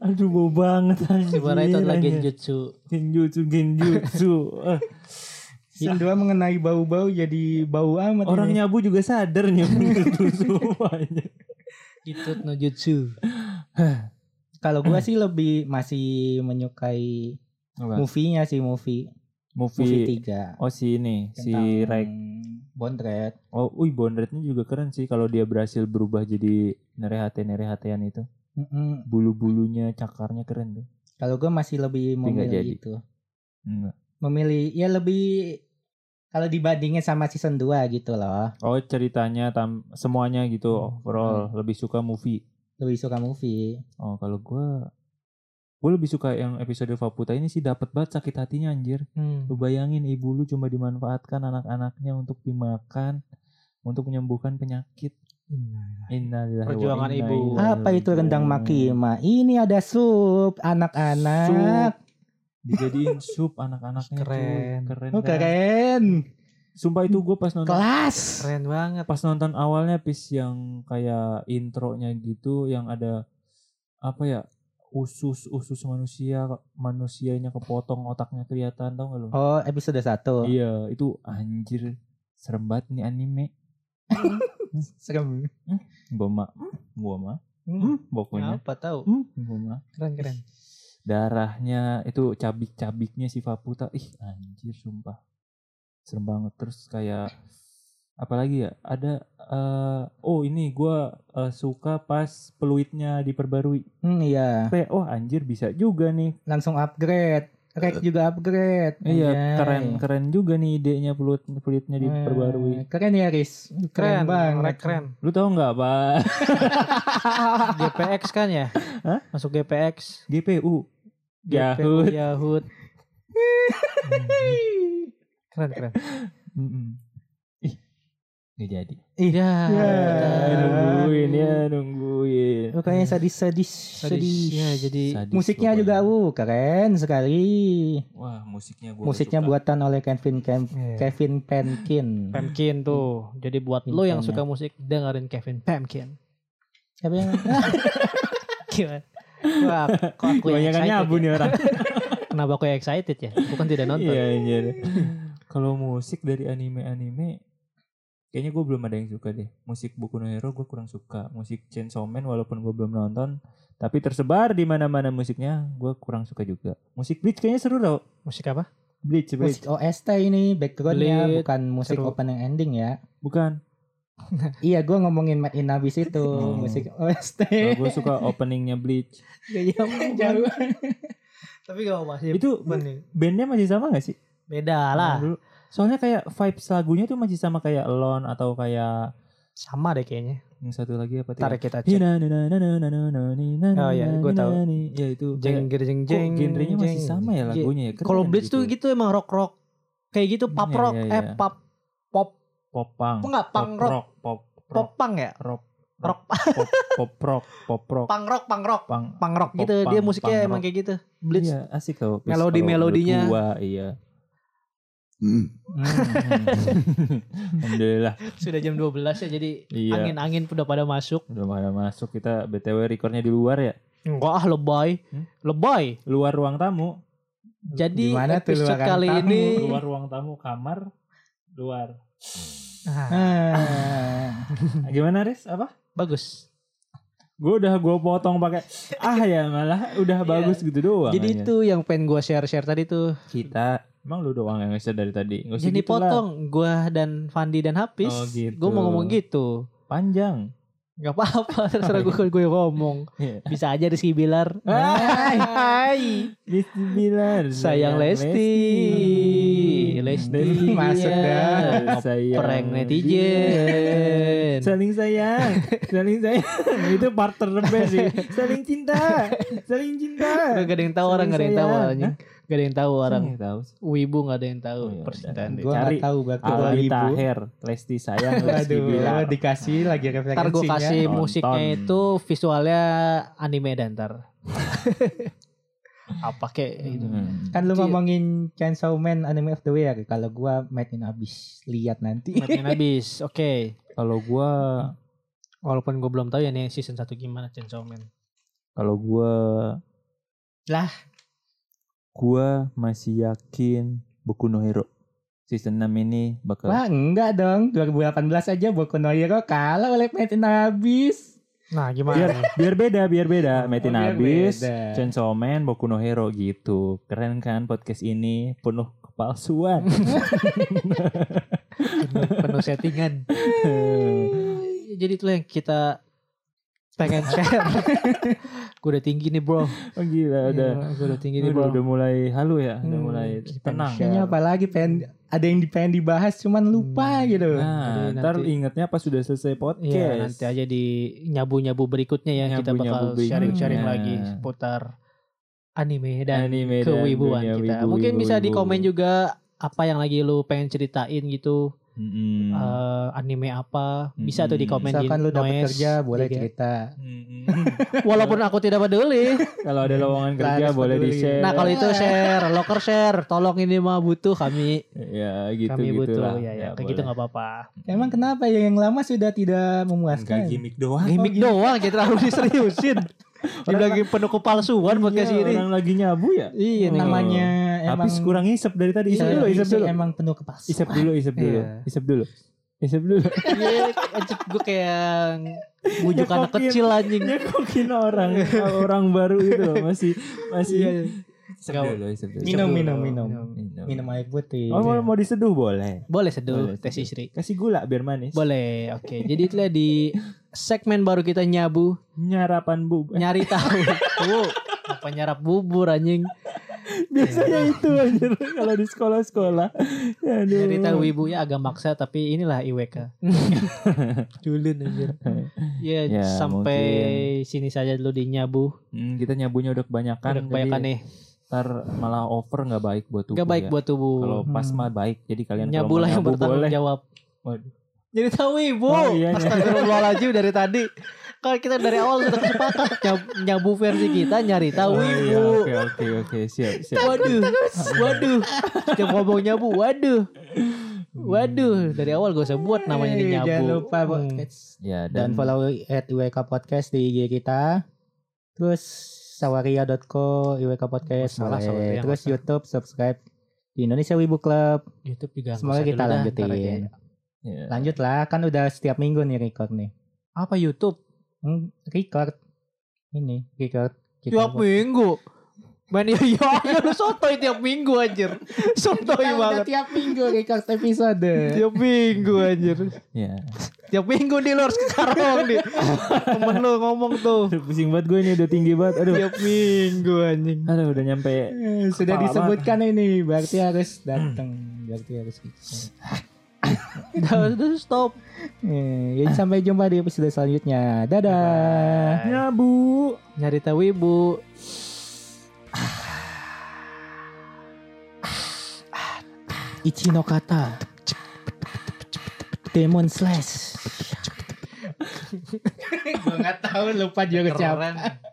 Speaker 3: Aduh bau banget anjir.
Speaker 2: Sebenarnya itu adalah
Speaker 3: anjir.
Speaker 2: genjutsu
Speaker 3: genjutsu genjutsu. Eh,
Speaker 4: Season 2 mengenai bau-bau jadi bau amat
Speaker 3: Orang
Speaker 4: ini.
Speaker 3: nyabu juga sadar nyabu itu semuanya.
Speaker 2: Itu no jutsu
Speaker 4: Kalau gua sih lebih masih menyukai movie-nya sih movie. Movie
Speaker 3: Movie
Speaker 4: 3.
Speaker 3: Oh si ini si Raik
Speaker 4: Bondret.
Speaker 3: Oh, uy Bondretnya juga keren sih kalau dia berhasil berubah jadi nerehate-nerehatean itu.
Speaker 4: Mm-mm.
Speaker 3: Bulu-bulunya, cakarnya keren tuh.
Speaker 4: Kalau gue masih lebih
Speaker 3: nggak
Speaker 4: memilih
Speaker 3: jadi.
Speaker 4: itu.
Speaker 3: Enggak.
Speaker 4: Memilih ya lebih kalau dibandingin sama season 2 gitu loh.
Speaker 3: Oh ceritanya tam semuanya gitu overall lebih suka movie.
Speaker 4: Lebih suka movie.
Speaker 3: Oh kalau gua gua lebih suka yang episode Faputa ini sih dapat banget sakit hatinya anjir. Lu bayangin ibu lu cuma dimanfaatkan anak-anaknya untuk dimakan untuk menyembuhkan penyakit. Innalillahi wa
Speaker 2: Perjuangan
Speaker 3: inna
Speaker 2: ibu.
Speaker 3: ilaihi
Speaker 4: Hmm. Apa itu rendang
Speaker 3: raji'un.
Speaker 4: makima? Ini ada
Speaker 3: Sup.
Speaker 4: sup anak-anak.
Speaker 3: Dijadiin sup anak-anaknya cuy.
Speaker 2: Keren.
Speaker 3: Keren.
Speaker 4: Oh,
Speaker 3: kan?
Speaker 4: keren.
Speaker 3: Sumpah itu gua pas nonton
Speaker 4: Kelas.
Speaker 2: Keren banget.
Speaker 3: pas nonton awalnya pis yang kayak intronya gitu yang ada apa ya usus usus manusia manusianya kepotong otaknya kelihatan tau gak lo
Speaker 4: Oh, episode 1.
Speaker 3: iya itu anjir serem banget nih anime
Speaker 4: Serem.
Speaker 3: gua mah gua mah
Speaker 2: Hmm.
Speaker 3: pokoknya
Speaker 2: Apa tahu?
Speaker 3: Hmm, gua mah
Speaker 2: Keren keren.
Speaker 3: darahnya itu cabik-cabiknya si Faputa ih anjir sumpah serem banget terus kayak apalagi ya ada eh, oh ini gua eh, suka pas peluitnya diperbarui
Speaker 4: Hmm, iya.
Speaker 3: kayak oh anjir bisa juga nih
Speaker 4: Langsung upgrade. Rek juga upgrade.
Speaker 3: iya
Speaker 4: Anjay. Hmm.
Speaker 3: keren keren juga nih idenya peluit peluitnya
Speaker 4: Eh,
Speaker 3: diperbarui
Speaker 4: Keren ya, Riz.
Speaker 2: Keren,
Speaker 4: Keren, banget.
Speaker 2: Rek, keren.
Speaker 3: lu tau nggak pak
Speaker 2: GPX kan ya?
Speaker 3: Hah?
Speaker 2: Masuk GPX.
Speaker 3: GPU Yahoo.
Speaker 2: GPU, Yahoo. keren keren.
Speaker 3: Mm-mm. ih nggak jadi
Speaker 2: Ya.
Speaker 3: Eh,
Speaker 4: Ya.
Speaker 3: nungguin ya nungguin
Speaker 4: Pokoknya sadis-sadis.
Speaker 2: Sadis. Ya, jadi
Speaker 3: Sadis
Speaker 4: Musiknya
Speaker 3: pokoknya.
Speaker 4: juga uh, keren sekali.
Speaker 3: Wah, musiknya gua
Speaker 4: Musiknya
Speaker 3: suka.
Speaker 4: buatan oleh Kevin Kem- Kevin
Speaker 2: Eh.
Speaker 4: Penkin.
Speaker 2: Pemkin tuh. Jadi buat
Speaker 4: Pemkin
Speaker 2: lo yang
Speaker 4: ya.
Speaker 2: suka musik dengerin Kevin Pemkin.
Speaker 4: Siapa yang
Speaker 2: Gimana? Wah, kok aku yang
Speaker 3: Kebanyakan
Speaker 2: excited
Speaker 3: nyabu
Speaker 2: ya?
Speaker 3: nih orang.
Speaker 2: Kenapa aku yang excited ya? Bukan tidak nonton.
Speaker 3: Iya, iya. Kalau musik dari anime-anime kayaknya gue belum ada yang suka deh. Musik Boku no Hero gue kurang suka. Musik Chainsaw Man walaupun gue belum nonton, tapi tersebar di mana-mana musiknya, gue kurang suka juga. Musik Bleach kayaknya seru tau.
Speaker 2: Musik apa?
Speaker 3: Bleach, Bleach.
Speaker 4: musik OST oh, ini backgroundnya
Speaker 2: Belit.
Speaker 4: bukan musik
Speaker 2: Seru.
Speaker 4: opening ending ya.
Speaker 3: Bukan.
Speaker 4: Iya, gue ngomongin Made in Abyss itu
Speaker 3: Hmm.
Speaker 4: musik OST.
Speaker 3: gue suka openingnya Bleach. Iya,
Speaker 4: Jauh.
Speaker 2: Tapi gak apa-apa sih.
Speaker 3: Itu
Speaker 2: bener.
Speaker 3: bandnya masih sama gak sih?
Speaker 2: Beda lah.
Speaker 3: Dulu. Soalnya kayak vibes lagunya tuh masih sama kayak Alone atau kayak
Speaker 2: Sama deh kayaknya.
Speaker 3: yang satu lagi apa? tuh?
Speaker 2: Tarik kita cek.
Speaker 3: Oh
Speaker 2: Oh, iya, gua tahu.
Speaker 3: Ya itu.
Speaker 2: Jeng
Speaker 3: Jeng,
Speaker 2: jeng jeng
Speaker 3: jeng,
Speaker 2: jeng.
Speaker 3: genrenya masih sama ya lagunya ya. Keren
Speaker 2: Kalau Blitz tuh gitu emang rock rock. Kayak gitu pop
Speaker 3: Iya,
Speaker 2: rock,
Speaker 3: iya,
Speaker 2: eh
Speaker 3: iya.
Speaker 2: pop
Speaker 3: Pop punk.
Speaker 2: enggak punk
Speaker 3: pop
Speaker 2: rock,
Speaker 3: rock, pop
Speaker 2: pop punk ya?
Speaker 3: rock,
Speaker 2: Rock
Speaker 3: pop pop rock, pop rock,
Speaker 2: punk rock, punk rock,
Speaker 3: punk.
Speaker 2: punk rock
Speaker 3: Pop
Speaker 2: gitu.
Speaker 3: punk,
Speaker 2: Dia musiknya
Speaker 3: punk
Speaker 2: emang
Speaker 3: rock.
Speaker 2: kayak gitu. Blitz.
Speaker 3: Iya, asik loh.
Speaker 2: Melodi-
Speaker 3: Terus kalau menurut
Speaker 2: melodinya.
Speaker 3: Gua, iya.
Speaker 1: Hmm.
Speaker 3: Hmm. Alhamdulillah.
Speaker 2: Sudah jam 12 ya jadi
Speaker 3: Iya.
Speaker 2: angin-angin udah pada masuk.
Speaker 3: Udah pada masuk kita BTW recordnya di luar ya.
Speaker 2: Enggak ah lebay.
Speaker 3: Hmm?
Speaker 2: Lebay.
Speaker 3: Luar ruang tamu,
Speaker 2: Jadi
Speaker 4: Gimana tuh
Speaker 2: episode
Speaker 4: luaran
Speaker 2: kali
Speaker 4: tamu?
Speaker 2: ini
Speaker 3: luar ruang tamu kamar luar.
Speaker 2: Ah,
Speaker 4: Ah.
Speaker 3: Gimana Riz? Apa?
Speaker 2: bagus.
Speaker 3: Gue udah gue potong pakai ah ya malah udah bagus gitu doang.
Speaker 2: Iya. Jadi
Speaker 3: aja.
Speaker 2: itu yang pengen gue share-share tadi tuh.
Speaker 3: kita emang lu doang yang nge-share dari tadi. Nggak usah
Speaker 2: Jadi
Speaker 3: gitu lah.
Speaker 2: potong gue dan Fandi dan Hafiz.
Speaker 3: Oh, gitu.
Speaker 2: Gue mau ngomong gitu.
Speaker 3: panjang.
Speaker 2: Gak apa-apa terserah gue gue ngomong.
Speaker 3: Iya.
Speaker 2: Bisa aja Rizky Bilar.
Speaker 3: Hai.
Speaker 2: Hai.
Speaker 3: Lesti Bilar.
Speaker 2: Sayang Lesti. Lesti.
Speaker 3: Lesti.
Speaker 4: Masuk dah.
Speaker 3: Sayang
Speaker 2: Prank
Speaker 3: Bilar.
Speaker 2: netizen.
Speaker 3: Saling sayang, saling sayang. Itu part terbest sih. Saling cinta, saling cinta.
Speaker 2: Udah gak ada yang tahu orang, gak ada yang tahu
Speaker 3: Sayang.
Speaker 2: orang. Gak ada yang tahu orang.
Speaker 3: Nggak tahu.
Speaker 2: Wibu gak ada yang tahu
Speaker 3: Oh, iya,
Speaker 2: percintaan dia.
Speaker 4: Gue
Speaker 3: Cari.
Speaker 4: gak tahu bakal gua
Speaker 3: Aldi
Speaker 4: ibu.
Speaker 3: Taher, Lesti sayang, Lesti
Speaker 4: Aduh,
Speaker 3: Bilar.
Speaker 4: dikasih lagi referensinya.
Speaker 2: Ntar gue kasih
Speaker 3: Nonton.
Speaker 2: musiknya itu visualnya anime dan ntar. Apa kek gitu.
Speaker 3: Hmm.
Speaker 4: Kan lu
Speaker 2: Iya.
Speaker 4: ngomongin Chainsaw Man Anime of the Year. Kalau gua Made in Abyss. Lihat nanti.
Speaker 2: Matiin habis, oke.
Speaker 3: Kalau gua
Speaker 2: Walaupun gue belum tahu ya nih season 1 gimana Chainsaw Man.
Speaker 3: kalau gua
Speaker 4: Lah.
Speaker 3: gua masih yakin Boku no Hero season 6 ini bakal
Speaker 4: Wah enggak dong. 2018 aja Boku no Hero kalah oleh Made in Abyss.
Speaker 2: Nah
Speaker 3: biar
Speaker 2: gimana?
Speaker 3: biar beda biar beda Metin
Speaker 4: Oh, biar
Speaker 3: Abis
Speaker 4: beda.
Speaker 3: Chainsaw Man Boku no Hero gitu keren kan podcast ini penuh kepalsuan
Speaker 2: Iya, penuh, penuh settingan. Jadi itulah yang kita pengen share gue udah tinggi nih bro
Speaker 3: Oh
Speaker 4: Iya,
Speaker 3: gila udah.
Speaker 2: gue udah tinggi nih
Speaker 3: Udah,
Speaker 2: bro
Speaker 3: udah mulai halu ya, udah
Speaker 4: Hmm,
Speaker 3: mulai tenang. ya?
Speaker 4: Kayaknya apalagi pengen ada yang di- pengen dibahas cuman
Speaker 2: Hmm.
Speaker 4: lupa gitu.
Speaker 3: Nah,
Speaker 2: Jadi
Speaker 3: ntar
Speaker 2: nanti-
Speaker 3: ingetnya pas sudah selesai podcast.
Speaker 2: Iya nanti aja di nyabu-nyabu berikutnya ya kita bakal
Speaker 3: Nyabu-nyabu
Speaker 2: sharing-sharing lagi
Speaker 3: berikutnya.
Speaker 2: seputar anime dan
Speaker 3: anime dan
Speaker 2: kewibuan
Speaker 3: Iya, dunia
Speaker 2: kita.
Speaker 3: wibu,
Speaker 2: Mungkin
Speaker 3: wibu,
Speaker 2: bisa di
Speaker 3: wibu.
Speaker 2: komen juga apa yang lagi lu pengen ceritain gitu,
Speaker 3: Mm-mm.
Speaker 2: eh, anime apa,
Speaker 3: Hmm.
Speaker 2: bisa tuh di
Speaker 3: Mm-mm.
Speaker 2: komen di
Speaker 4: Misalkan lu dapat
Speaker 2: noise iya
Speaker 4: kerja boleh
Speaker 2: juga.
Speaker 4: cerita.
Speaker 3: Mm-mm.
Speaker 2: Walaupun aku tidak peduli.
Speaker 3: kalau ada lowongan
Speaker 4: Lah,
Speaker 3: kerja
Speaker 4: harus
Speaker 3: boleh di
Speaker 4: peduli.
Speaker 3: share.
Speaker 2: Nah, kalau itu share, loker share, tolong ini mah butuh kami,
Speaker 3: ya gitu
Speaker 2: kami
Speaker 3: gitu
Speaker 2: butuh
Speaker 3: lah.
Speaker 2: ya ya. Kayak gitu nggak apa-apa.
Speaker 4: Emang kenapa ya yang lama sudah tidak
Speaker 3: Enggak
Speaker 4: memuaskan?
Speaker 2: gitu.
Speaker 3: gimmick doang.
Speaker 2: Gimik doang jadi terlalu diseriusin. Dibilangin penuh kepalsuan podcast
Speaker 3: Iya,
Speaker 2: ini.
Speaker 3: Orang lagi nyabu ya.
Speaker 2: Iya,
Speaker 3: Oh.
Speaker 2: nih.
Speaker 4: Namanya emang
Speaker 3: Habis kurang isep dari tadi. Isep
Speaker 4: Iya,
Speaker 3: dulu, isep
Speaker 4: sih,
Speaker 3: dulu.
Speaker 4: Emang penuh kepas.
Speaker 3: Isep dulu, isep dulu.
Speaker 2: Iya.
Speaker 3: Isep dulu. Isep dulu.
Speaker 2: Iya, anjing, gue kayak bujuk
Speaker 3: Nyekokin.
Speaker 2: anak kecil anjing.
Speaker 3: Nyekokin Iya, orang orang baru gitu loh, masih masih isep
Speaker 2: Nggak-
Speaker 3: dulu, isep dulu.
Speaker 4: Minum,
Speaker 2: Isep
Speaker 4: minum,
Speaker 2: dulu.
Speaker 4: minum. Minum air putih.
Speaker 3: Oh, mau, mau diseduh boleh.
Speaker 2: Boleh seduh
Speaker 3: Boleh
Speaker 2: teh
Speaker 3: seduh.
Speaker 2: Sri.
Speaker 3: Kasih gula biar manis.
Speaker 2: Boleh. Oke, jadi itulah di segmen baru kita nyabu
Speaker 3: Nyarapan bu. Eh,
Speaker 2: nyari tahu. Wow, apa nyarap bubur anjing?
Speaker 3: Biasanya
Speaker 2: Iya.
Speaker 3: itu anjir kalau di sekolah-sekolah. Aduh.
Speaker 2: Nyari tahu ibu ya agak maksa tapi inilah IWK. Dulu anjir. Ya,
Speaker 3: Ya,
Speaker 2: sampai sini saja dulu di nyabu.
Speaker 3: Hmm, kita nyabunya udah kebanyakan.
Speaker 2: Udah kebanyakan nih.
Speaker 3: jadi Ntar malah over nggak baik buat tubuh.
Speaker 2: Gak baik
Speaker 3: ya.
Speaker 2: buat
Speaker 3: Kalau
Speaker 2: tubuh.
Speaker 3: pas
Speaker 4: Hmm.
Speaker 3: mah baik. Jadi kalian kalau
Speaker 2: Nyabu
Speaker 3: mau
Speaker 2: lah yang
Speaker 3: nyabu
Speaker 2: bertanggung
Speaker 3: boleh.
Speaker 2: jawab.
Speaker 3: Waduh.
Speaker 2: Jadi tahu ibu.
Speaker 3: Oh, iya, iya.
Speaker 2: Astagfirullahaladzim dari tadi. Kalau kita dari awal sudah sepakat nyab- nyabu versi kita nyari tahu
Speaker 3: Oh, iya,
Speaker 2: ibu.
Speaker 3: Oke oke oke siap siap.
Speaker 2: Waduh, waduh. Setiap ngomong nyabu, waduh. Waduh, dari awal gak usah buat namanya di
Speaker 4: Eh,
Speaker 2: nyabu.
Speaker 4: Jangan lupa
Speaker 2: Hmm.
Speaker 4: podcast.
Speaker 3: Ya dan,
Speaker 4: Dan follow at IWK Podcast di IG kita. Terus sawaria.co IWK Podcast.
Speaker 2: Masalah,
Speaker 4: boleh.
Speaker 2: Oh, Sawaria, nggak
Speaker 4: Terus
Speaker 2: usah.
Speaker 4: YouTube subscribe di Indonesia Wibu Club.
Speaker 2: YouTube juga nggak
Speaker 4: Semoga
Speaker 2: usah
Speaker 4: kita
Speaker 2: dulu dah,
Speaker 4: lanjutin.
Speaker 2: ntar aja.
Speaker 3: Ya.
Speaker 4: Lanjutlah kan udah setiap minggu nih record nih.
Speaker 2: Apa YouTube?
Speaker 4: Hmm, record ini record. Kita
Speaker 2: Tiap
Speaker 4: buat-
Speaker 2: minggu. Main yo yo yo iya, lu sotoy tiap minggu anjir. Sotoy
Speaker 4: Kita udah
Speaker 2: banget.
Speaker 4: tiap minggu record episode.
Speaker 2: Tiap minggu anjir.
Speaker 3: Ya.
Speaker 2: Tiap minggu di lu harus ke karong di. Temen lu ngomong tuh.
Speaker 3: Aduh, Pusing banget gue ini udah tinggi banget. Aduh.
Speaker 2: Tiap minggu anjing.
Speaker 3: Aduh udah nyampe.
Speaker 4: Eh, Sudah
Speaker 3: Kepala
Speaker 4: disebutkan ini berarti harus datang, berarti harus gitu. ikut.
Speaker 2: Udah udah, stop.
Speaker 4: Eh, jadi sampai jumpa di episode selanjutnya. Dadah.
Speaker 3: Nyabu.
Speaker 2: Nyari tahu ibu.
Speaker 4: Ichino kata. Demon slash. Gue nggak tahu lupa juga siapa.
Speaker 2: Keren.